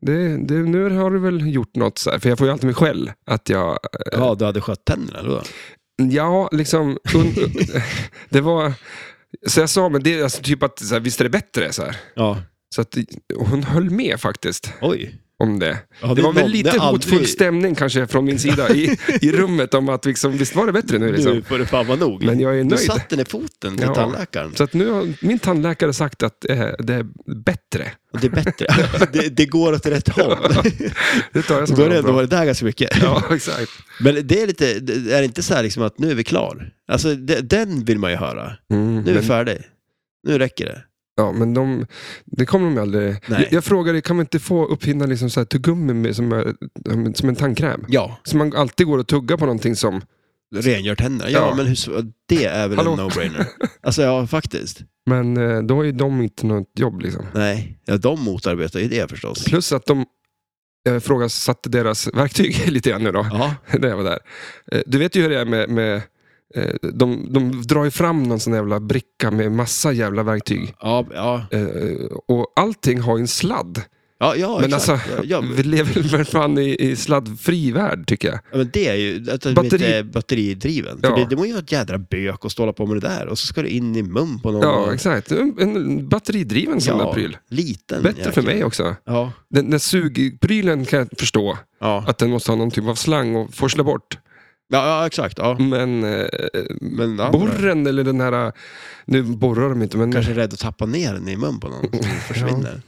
det, det, nu har du väl gjort något. Så här, för jag får ju alltid mig själv att jag, ja, du hade skött tänderna eller vadå? ja, liksom, un, det var, så jag sa, men det är alltså typ att så här, visst är det bättre? Så, här. Ja, så att och hon höll med faktiskt oj. om det. Ja, Det var väl nådde lite hotfull aldrig- stämning kanske från min sida i, i rummet om att liksom, visst var det bättre nu? Nu Liksom. får det fan vara nog. Men jag är du nöjd. satte ner foten till Ja. tandläkaren. Så att nu har min tandläkare sagt att eh, det är bättre. Och det är bättre. det, det går åt rätt håll. Det tar jag som Då har en det ändå bra- varit där ganska mycket. Ja, exakt. Men det är lite, det är inte så här liksom att nu är vi klar? Alltså det, den vill man ju höra. Mm, Nu är men- vi färdig. Nu räcker det. Ja, men de, det kommer de aldrig... Nej. Jag, jag frågade, kan man inte få uppfinna liksom så här tuggummi med, som, är- som en tandkräm? Ja, Så man alltid går och tuggar på någonting som... rengör tänderna. Ja, Ja. men hur, så- det är väl Hallå? en no-brainer. Alltså ja, faktiskt. Men eh, då har ju de inte något jobb liksom. Nej, ja, de motarbetar ju det förstås. Plus att de eh, frågasatte deras verktyg lite grann nu då, Ja, när jag var där. Eh, du vet ju hur det är med... med eh, de, de drar ju fram någon sån jävla bricka med massa jävla verktyg. ja, ja. Eh, och allting har ju en sladd. ja, ja men exakt. alltså, ja, ja, vi lever väl fan i, i sladdfri värld tycker jag. Ja, men det är ju att de Batteri- inte är batteridriven. Ja. För det, det må ju vara ett jädra bök att stå och hålla på med det där. Och så ska det in i mun på någon. Ja, exakt. En, en batteridriven sån Ja, där pryl. Liten. Bättre för jäkel. mig också. Ja. Den där sugprylen kan jag förstå, Ja. att den måste ha någon typ av slang och forsla bort. ja, ja, exakt. Ja. Men, eh, Men ja, borren eller den här, nu borrar de inte, men kanske är rädd att tappa ner den i mun på någon så den försvinner.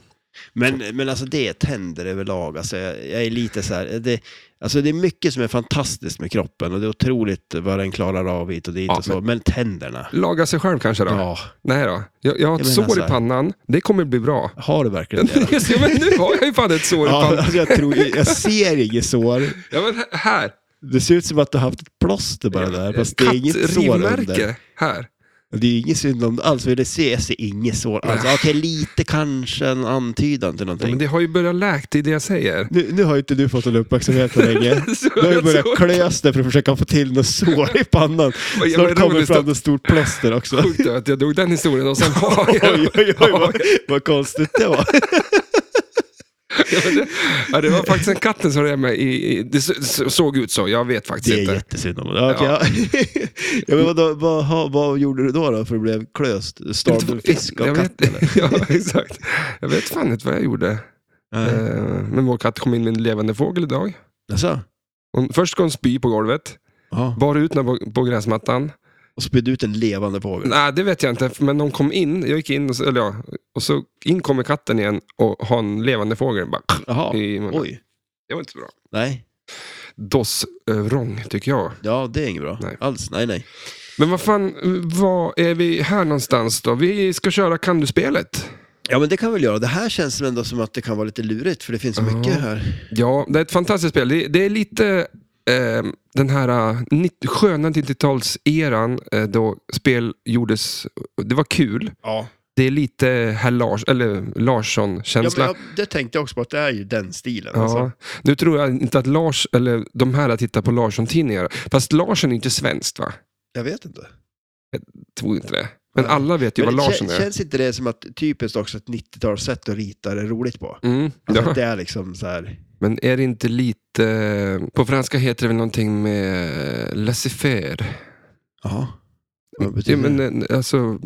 Men, men alltså det är tänder överlag. Alltså jag, jag är lite så här, det, alltså det är mycket som är fantastiskt med kroppen och det är otroligt vad den klarar av hit och dit Ja, och så. Men, tänderna, laga sig själv kanske då. ja. Nej då. Jag, jag har ett menar sår så i här. pannan, det kommer bli bra. Har du verkligen det? Ja, men nu har jag ju fan ett sår i Ja, pannan. alltså jag, tror, jag ser inget sår. Ja, men här- här. Det ser ut som att du har haft ett plåster bara där, fast det är inget sår under. Kattrivmärke här. Det är inget synd om alls, för det ser, jag ser inget sår alls. Okej, lite kanske en antydan till Ja, någonting. men det har ju börjat läkt, det är det jag säger. Nu, nu har ju inte du fått någon uppmärksamhet på länge. Så Du har ju jag börjat såg- klös dig för att försöka få till något sår i pannan. Vad jävla Snart kommer roligt att- fram ett stort plåster också. Oj, Sjukt att jag drog den historien och sen har jag... oj, oj, vad, vad konstigt det var. Ja, det var faktiskt en katten som rev mig. I, i, det så- så- såg ut så, jag vet faktiskt Det är inte. jättesynd om det. Ja, okej, ja. ja, men vadå, vad, ha- vad gjorde du då, då för att du blev klöst? Stal du fisk av jag katten? eller? vet, ja, exakt. Jag vet fan inte vad jag gjorde. Nej. Eh, men vår katt kom in med en levande fågel idag. Alltså? Hon, först ska hon spy på golvet, Ja. bar ut den på, på gräsmattan. Och spydde ut en levande fågel? Nej, det vet jag inte, men hon kom in, jag gick in och så, eller ja, och så in kommer katten igen och har en levande fågel. Bara, Jaha, i munnen. oj. det var inte så bra. Nej, Dossvrång, tycker jag. ja det är inget bra Nej. alls. Nej, nej. Men vad fan, var är vi här någonstans då? Vi ska köra Kan du-spelet. Ja, men det kan vi väl göra. Det här känns väl ändå som att det kan vara lite lurigt, för det finns så Ja. mycket här. Ja, det är ett fantastiskt spel. Det, det är lite eh, den här eh, nitt- sköna 90-talseran eh, då spel gjordes. Det var kul. Ja. Det är lite herr Lars, eller Ja, Larsson-känsla. men jag, det tänkte jag också på, att det är ju den stilen. Ja, Alltså. Nu tror jag inte att Lars, eller de här tittar på Larsson-tidningar. Fast Larsson är inte svenskt va? Jag vet inte. Tror inte det. Men Nej. alla vet ju Men Typ vad det Larsson kän- är. Känns inte det som att typiskt också ett 90-talssätt att rita är roligt på? Mm, Alltså, ja. att Det är liksom så här... Men är det inte lite... eh, På franska heter det väl någonting med eh, laissez-faire? Ja. Vad Ja, betyder men det? eh, alltså...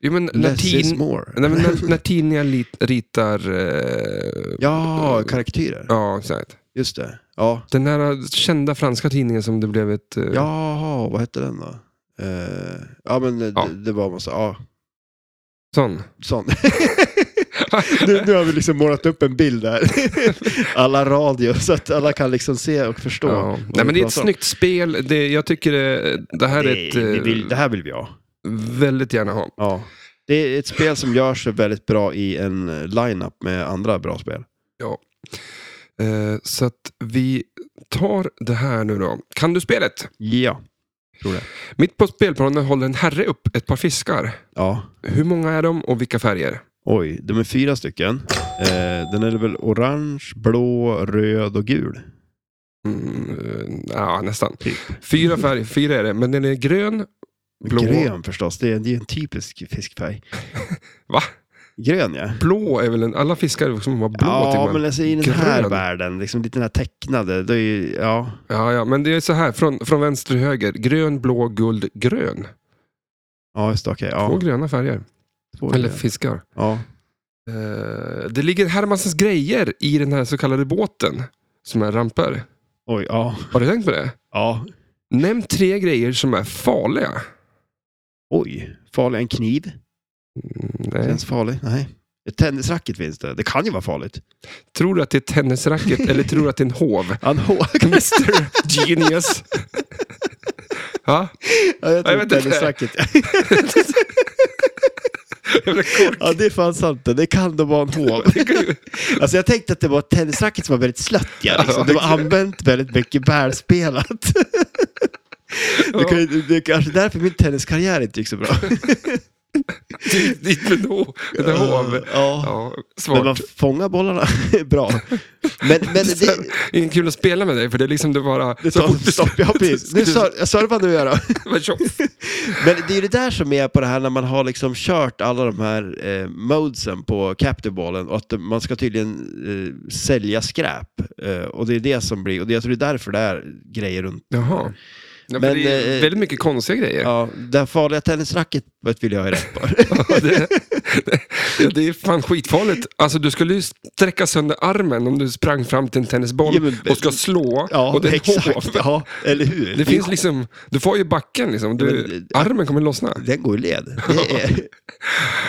Ja, men Less is latin... more. Nej, men när, när tidningar lit, ritar... Eh, Ja, karaktärer. ja, exakt. Just det. Ja. Den här eh, kända franska tidningen som det blev ett... Eh, Jaha, vad hette den då? Eh, ja, men eh, Ja. Det, det var massa... Ja, Sån. sån. nu, nu har vi liksom målat upp en bild där. alla radio, så att alla kan liksom se och förstå. Ja. vad Nej, men det är ett pratar om. snyggt spel. Det, jag tycker det, det här är ett... Det, vi eh, vill, det här vill vi ha. Väldigt gärna ha. Ja. Det är ett spel som gör sig väldigt bra i en eh, line-up med andra bra spel. Eh, så att vi tar det här nu då. Kan du spelet? Ja. Mitt på spelplanen håller en herre upp ett par fiskar. ja. Hur många är de och vilka färger? Oj, de är fyra stycken. Eh, den är väl orange, blå, röd och gul. Mm, eh, ja, nästan. Typ. Fyra färger, fyra är det. Men den är grön, Blå. Grön förstås, det är, det är en typisk fiskfärg. Va? Grön ja. Blå är väl en... Alla fiskar är som har blå ja, till men... men alltså, i den här Grön. världen, liksom lite den här tecknade, då är ju, ja. Ja, ja, men det är så här, från, från vänster till höger. Grön, blå, guld, grön. Ja, just det, okej. Två ja. gröna färger. Två Eller grön. fiskar. ja. Eh, det ligger Hermansens grejer i den här så kallade båten. Som är ramper. Oj, ja. Har du tänkt på det? ja. Nämn tre grejer som är farliga. Oj, farlig. En kniv? Mm, Nej. Känns farlig? Nej. Ett tennisracket finns det. Det kan ju vara farligt. Tror du att det är ett tennisracket eller tror du att det är en hov? Ja, en hå- Mr Genius. ja, ja, jag Jag tror vet inte. tennisracket. jävla kork. Ja, det är fan sant. Det Det kan då vara en hov. Alltså jag tänkte att det var ett tennisracket som var väldigt slött. Ja, liksom. Det var använt väldigt mycket välspelat. Det, kan, ju- det är kanske därför min tenniskarriär inte gick så bra. Dit- Dit med en hov. Med en hov. Eh, Ja. Ja, Men man svårt. fångar bollarna bra. Men, men det, Ingen kul att spela med dig för det är liksom du bara... det så tar fort du stopp. Ja, precis. Nu sör- jag servar nu jag då. Men tjoff. Men det är ju det där som är på det här när man har liksom kört alla de här eh, modesen på captive ballen och att man ska tydligen eh, sälja skräp. Eh, och det är det som blir, och det, jag tror det är därför det är grejer runt. Jaha. Ja, men, Men, det är eh, väldigt mycket konstiga grejer. Ja, det här farliga tennisracketet vill jag ha rätt på. Ja, det, det, det är fan skitfarligt. Alltså, du skulle ju sträcka sönder armen om du sprang fram till en tennisboll Ja, men- och ska slå. Ja, och det är en exakt. hov. Ja, eller hur? Det finns liksom, du får ju backen liksom. Du, Men- armen kommer lossna. Den går i led. Det är,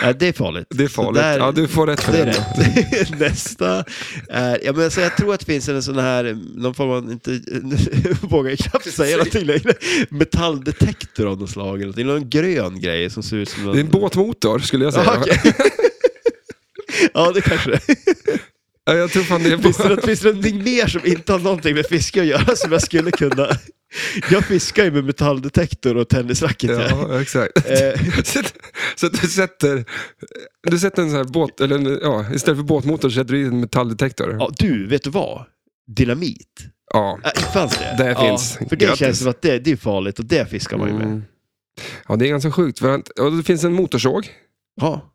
ja, det är farligt. Det är Så farligt. där- Ja, du får rätt för Det är det. rätt. Nästa är, ja, men så jag tror att det finns en sån här, någon form av, inte vågar knappt säga någonting längre, metalldetektor av något slag, eller någonting. någon grön grej som ser ut som Det är en båtmotor skulle jag säga. Ja, okej. ja, det kanske det är. Ja, Jag tror fan det är Finns det, båt. något, finns det någonting mer som inte har någonting med fiske att göra som jag skulle kunna? Jag fiskar ju med metalldetektor och tennisracket. Ja. Eh. Ja, exakt. Så att- Så att du sätter, du sätter en sån här båt, eller en- ja, istället för båtmotor så sätter du i en metalldetektor. Ja, du, vet du vad? Dynamit. Ja. Äh, fanns det? Det finns. För det Grattis. känns som att det, det är farligt och det fiskar man ju med. Mm. Ja, det är ganska sjukt. För att, och det finns en motorsåg. Ja,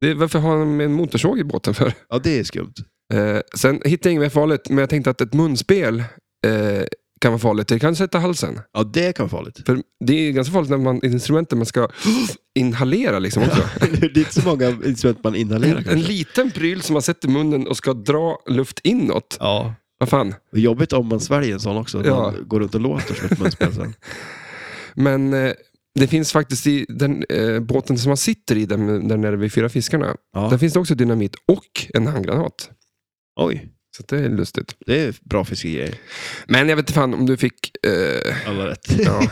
Det, varför har de en motorsåg i båten för? ja det är skumt. Eh, sen hittade jag inget mer farligt, men jag tänkte att ett munspel eh, kan vara farligt. Det kan sätta halsen. Ja, det kan vara farligt. För det är ganska farligt när man instrumenten man ska inhalera liksom också. det är inte så många instrument man inhalerar En, en kanske. liten pryl som man sätter i munnen och ska dra luft inåt. Ja, Vad fan. och jobbigt om man sväljer en sån också. att Ja. Man går runt och låter som ett munspel sen. Men eh, det finns faktiskt i den eh, båten som man sitter i, den, där nere vid Fyra fiskarna. Där Ja. finns det också dynamit och en handgranat. Oj, Så att det är lustigt. det är bra fiskegrejer. Men jag vet inte fan om du fick... Eh, Alla rätt. ja.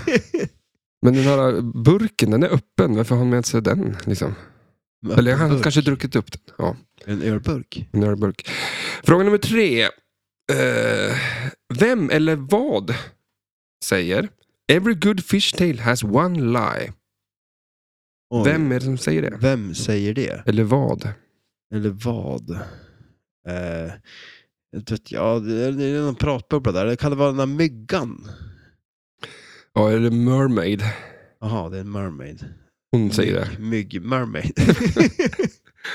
Men den här burken, den är öppen. Varför har han med sig den? Liksom? Eller han har Burk. kanske druckit upp den. Ja, En ölburk. en ölburk. Fråga nummer tre. Eh, vem eller vad säger Every good fish tale has one lie. Oj. Vem är det som säger det? Vem säger det? Eller vad? Eller vad? Eh, jag vet, ja, det är det är någon pratbubbla där. Kan det vara den där myggan? Ja, eller mermaid. Jaha, det är en mermaid. Hon Mm. säger det. Mygg, mygg mermaid.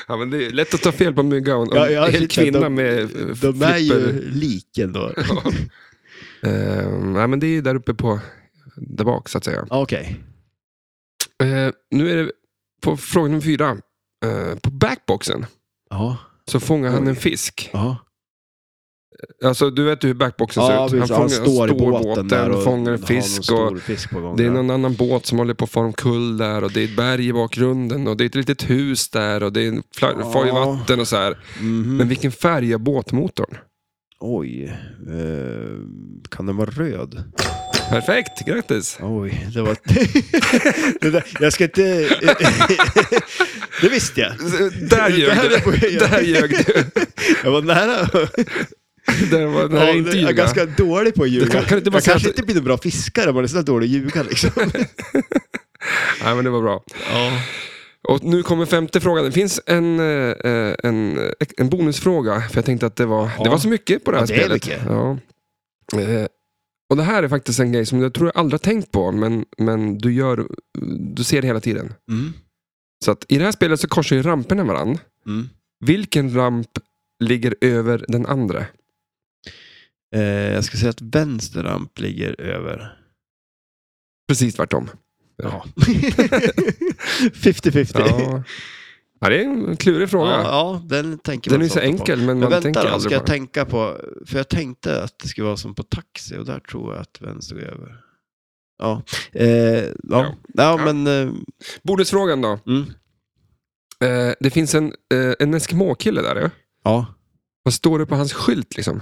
Ja, men det är lätt att ta fel på mygga och en Ja, ja, hel shit, kvinna de- med eh, De flipper. är ju lik ändå. Ja. Eh, nej, men det är ju där uppe på, där bak så att säga. Ja, Okej. Eh, nu är det på fråga nummer fyra. Eh, på backboxen Ja. så fångar han Oj. en fisk. Ja. Alltså du vet ju hur backboxen ser ut. precis. fångar- fångar en har fisk. någon stor Och fisk på gång det är där. någon annan båt som håller på att fara omkull där och det är ett berg i bakgrunden och det är ett litet hus där och det är en fla- Ja. far i vatten och så här. Mhm. Men vilken färg är båtmotorn? Oj. Eh, kan den vara röd? Perfekt, grattis! Oj, det var... det där, jag ska inte... det visste jag. Där Det ljög här är på- E. du! Där ljög du! Jag var nära. Det var, det här Ja, är inte jag är ljuga. ganska dålig på att ljuga. Det kan- kan du inte bara jag säga kanske att- inte blir någon bra fiskare om man är så där dålig att ljuga. Liksom. Nej, men det var bra. ja. Och nu kommer femte frågan. Det finns en, eh, eh, en, eh, en bonusfråga, för jag tänkte att det var, Ja. det var så mycket på det här Ja, det är spelet. mycket. Ja. Eh, Och det här är faktiskt en grej som jag tror jag aldrig har tänkt på, men, men du, gör, du ser det hela tiden. Mm. Så att i det här spelet så korsar ju ramperna varandra. Mm. Vilken ramp ligger över den andra? Eh, jag ska säga att vänster ramp ligger över. Precis tvärtom. Ja. 50-50. Ja. ja, det är en klurig fråga. Ja, ja, den tänker man den är ju så ofta på. enkel, men Men man vänta tänker då, ska aldrig på jag den. tänka på, för jag tänkte att det skulle vara som på taxi och där tror jag att vänster går över. Ja, eh, ja. Ja. ja. Ja. men eh, Bordsfrågan då. mm. Eh, det finns en, eh, en Eskimo-kille där. Ja. ja, Vad står det på hans skylt liksom?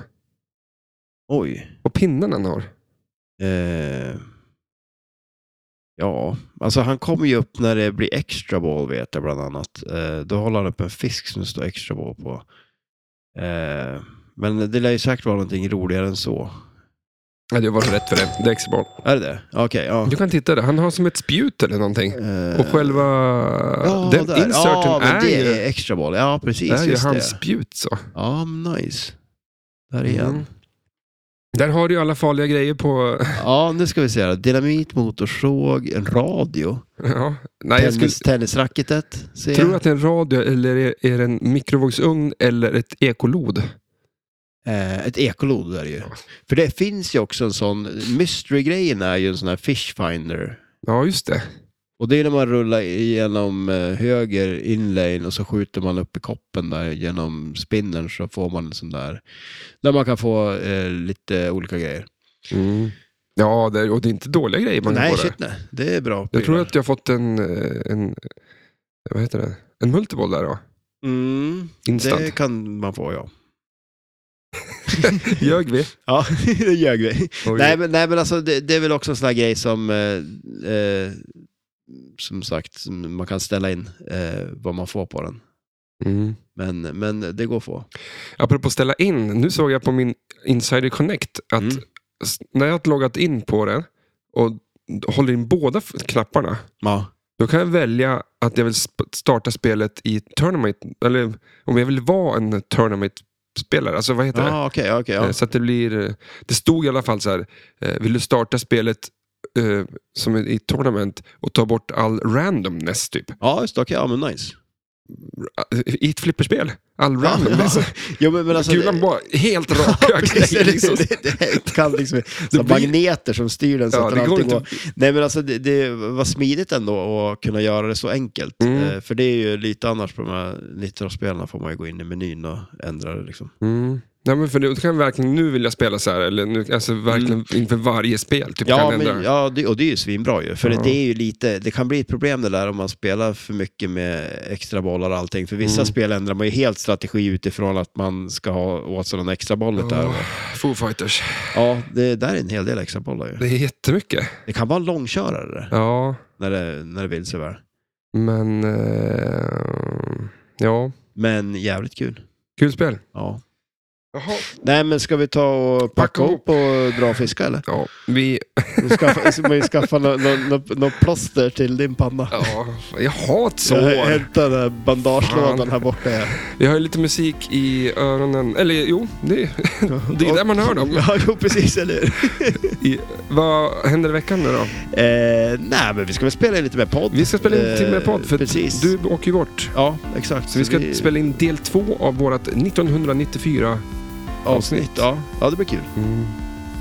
oj. Och pinnen han har. Eh, ja, alltså han kommer ju upp när det blir extra ball vet jag bland annat. Eh, då håller han upp en fisk som det står extra ball på. Eh, men det lär ju säkert vara någonting roligare än så. Ja, det var rätt för det. Det är extra bra. Är det det? Okej, ja. Du kan titta där. Han har som ett spjut eller någonting. Eh, Och själva Ja, den där. inserten ja, men är, det ju, är extra boll. Ja, precis. är ju just hans det. spjut. Så. Ja, men nice. Där igen. Mm. Där har du ju alla farliga grejer på... Ja, nu ska vi se. här. Dynamit, motorsåg, en radio. Ja. Nej, jag Tennis, skulle, Tennisracketet. ser jag. tror du att det är en radio eller är, är det en mikrovågsugn eller ett ekolod? Eh, ett ekolod där ju. För det finns ju också en sån, mystery-grejen är ju en sån här fish finder. Ja, just det. Och det är när man rullar igenom eh, höger inlane och så skjuter man upp i koppen där genom spinnen så får man en sån där, där man kan få eh, lite olika grejer. Mm. Ja, det, och det är inte dåliga grejer man nej, kan få där. shit nej. Det är bra. Jag tror prylar. att jag har fått en, eh, en... Vad heter det? En multiboll där då. Mm, Instant. det kan man få, ja. Ljög vi? Ja, det ljög vi. Oj. Nej men, nej, men alltså, det, det är väl också en sån här grej som, eh, eh, som sagt, som man kan ställa in eh, vad man får på den. Mm. Men, men det går att få. Apropå ställa in, nu såg jag på min Insider Connect att Mm. s- när jag har loggat in på den och d- håller in båda f- knapparna, Ja. då kan jag välja att jag vill sp- starta spelet i tournament, eller om jag vill vara en tournament-spelare, alltså vad heter det? Ja, okej, okej. Eh, ja. Så att det blir, eh, det stod i alla fall så här, eh, vill du starta spelet eh, som i- i tournament och ta bort all randomness typ? Eh, Ja, just det. Okej, ja men nice. I ett flipperspel, all Ja, randomness. Jo, men, men alltså, Kulan det, var helt rakryggad. precis, det, liksom. det, det kan liksom, som blir- magneter som styr den så Ja, att det den går alltid inte går Nej men alltså det, det var smidigt ändå att kunna göra det så enkelt. Mm. Eh, för det är ju lite annars på de här Nitro-spelarna får man ju gå in i menyn och ändra det liksom. Mm. Nej, men för det, då kan jag verkligen, nu vill jag spela så här, eller nu, alltså verkligen inför varje spel. Typ, Mm. Ja, kan jag men, ändra. ja det, och det är ju svinbra ju. För Ja. det är ju lite, det kan bli ett problem det där om man spelar för mycket med extra bollar och allting. För vissa Mm. spel ändrar man ju helt strategi utifrån att man ska ha åt sig någon extra boll Ja. där. Foo Fighters, Ja, det där är en hel del extra bollar ju. det är jättemycket. Det kan vara en långkörare det, Ja, när det, när det vill sig väl. men... Eh, ja, Men jävligt kul. kul spel. Ja. Jaha. Nej men ska vi ta och packa Packa ihop och dra och fiska eller? Ja, vi... Du skaffa, ska man ju skaffa något nå, nå, nå plåster till din panna. Ja, jag har ett Jag sår. hämtar den här bandagelådan Fan. här borta. Ja. Jag har ju lite musik i öronen. Eller jo, det, det är där man hör dem. Ja, jo, precis, eller hur? I, vad händer i veckan nu då? Eh, nej, men vi ska väl spela in lite mer podd. Vi ska spela in en Eh, timme podd, för precis. du åker ju bort. Ja, exakt. Så vi ska spela in del två av vårt 1994 avsnitt. Mm. Ja. ja, det blir kul. Men-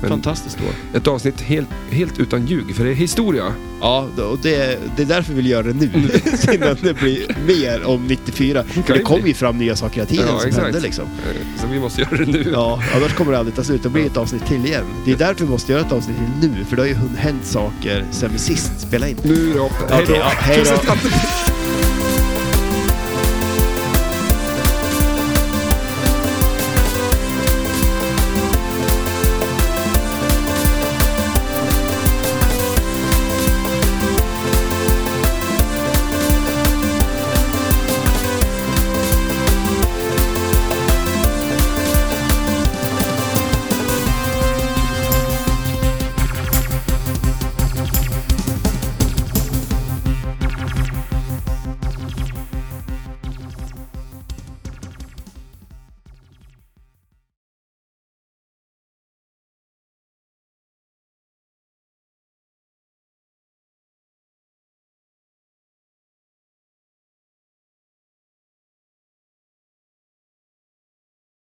Fantastiskt år. Ett avsnitt helt, helt utan ljug, för det är historia. Ja, då- och det, det är därför vi vill göra det nu. Innan det blir mer om 94. För Mm. kan det ju kommer ju fram nya saker hela tiden Ja, som exakt. händer liksom. Eh, Så vi måste göra det nu. Ja, annars kommer det aldrig ta slut. Det blir ett avsnitt till igen. Det är därför vi måste göra ett avsnitt till nu, för det har ju hun- hänt saker sen vi sist spelade in. Nu då. Hej Okej, ja, hej då. Tusen tack.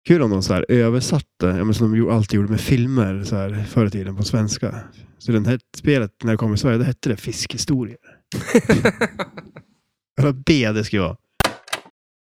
Kul om de så här översatte, ja, men som de ju- alltid gjorde med filmer så här, förr i tiden på svenska. Så det här spelet, när det kom i Sverige, då hette det Fiskhistorier. Eller B det skulle vara.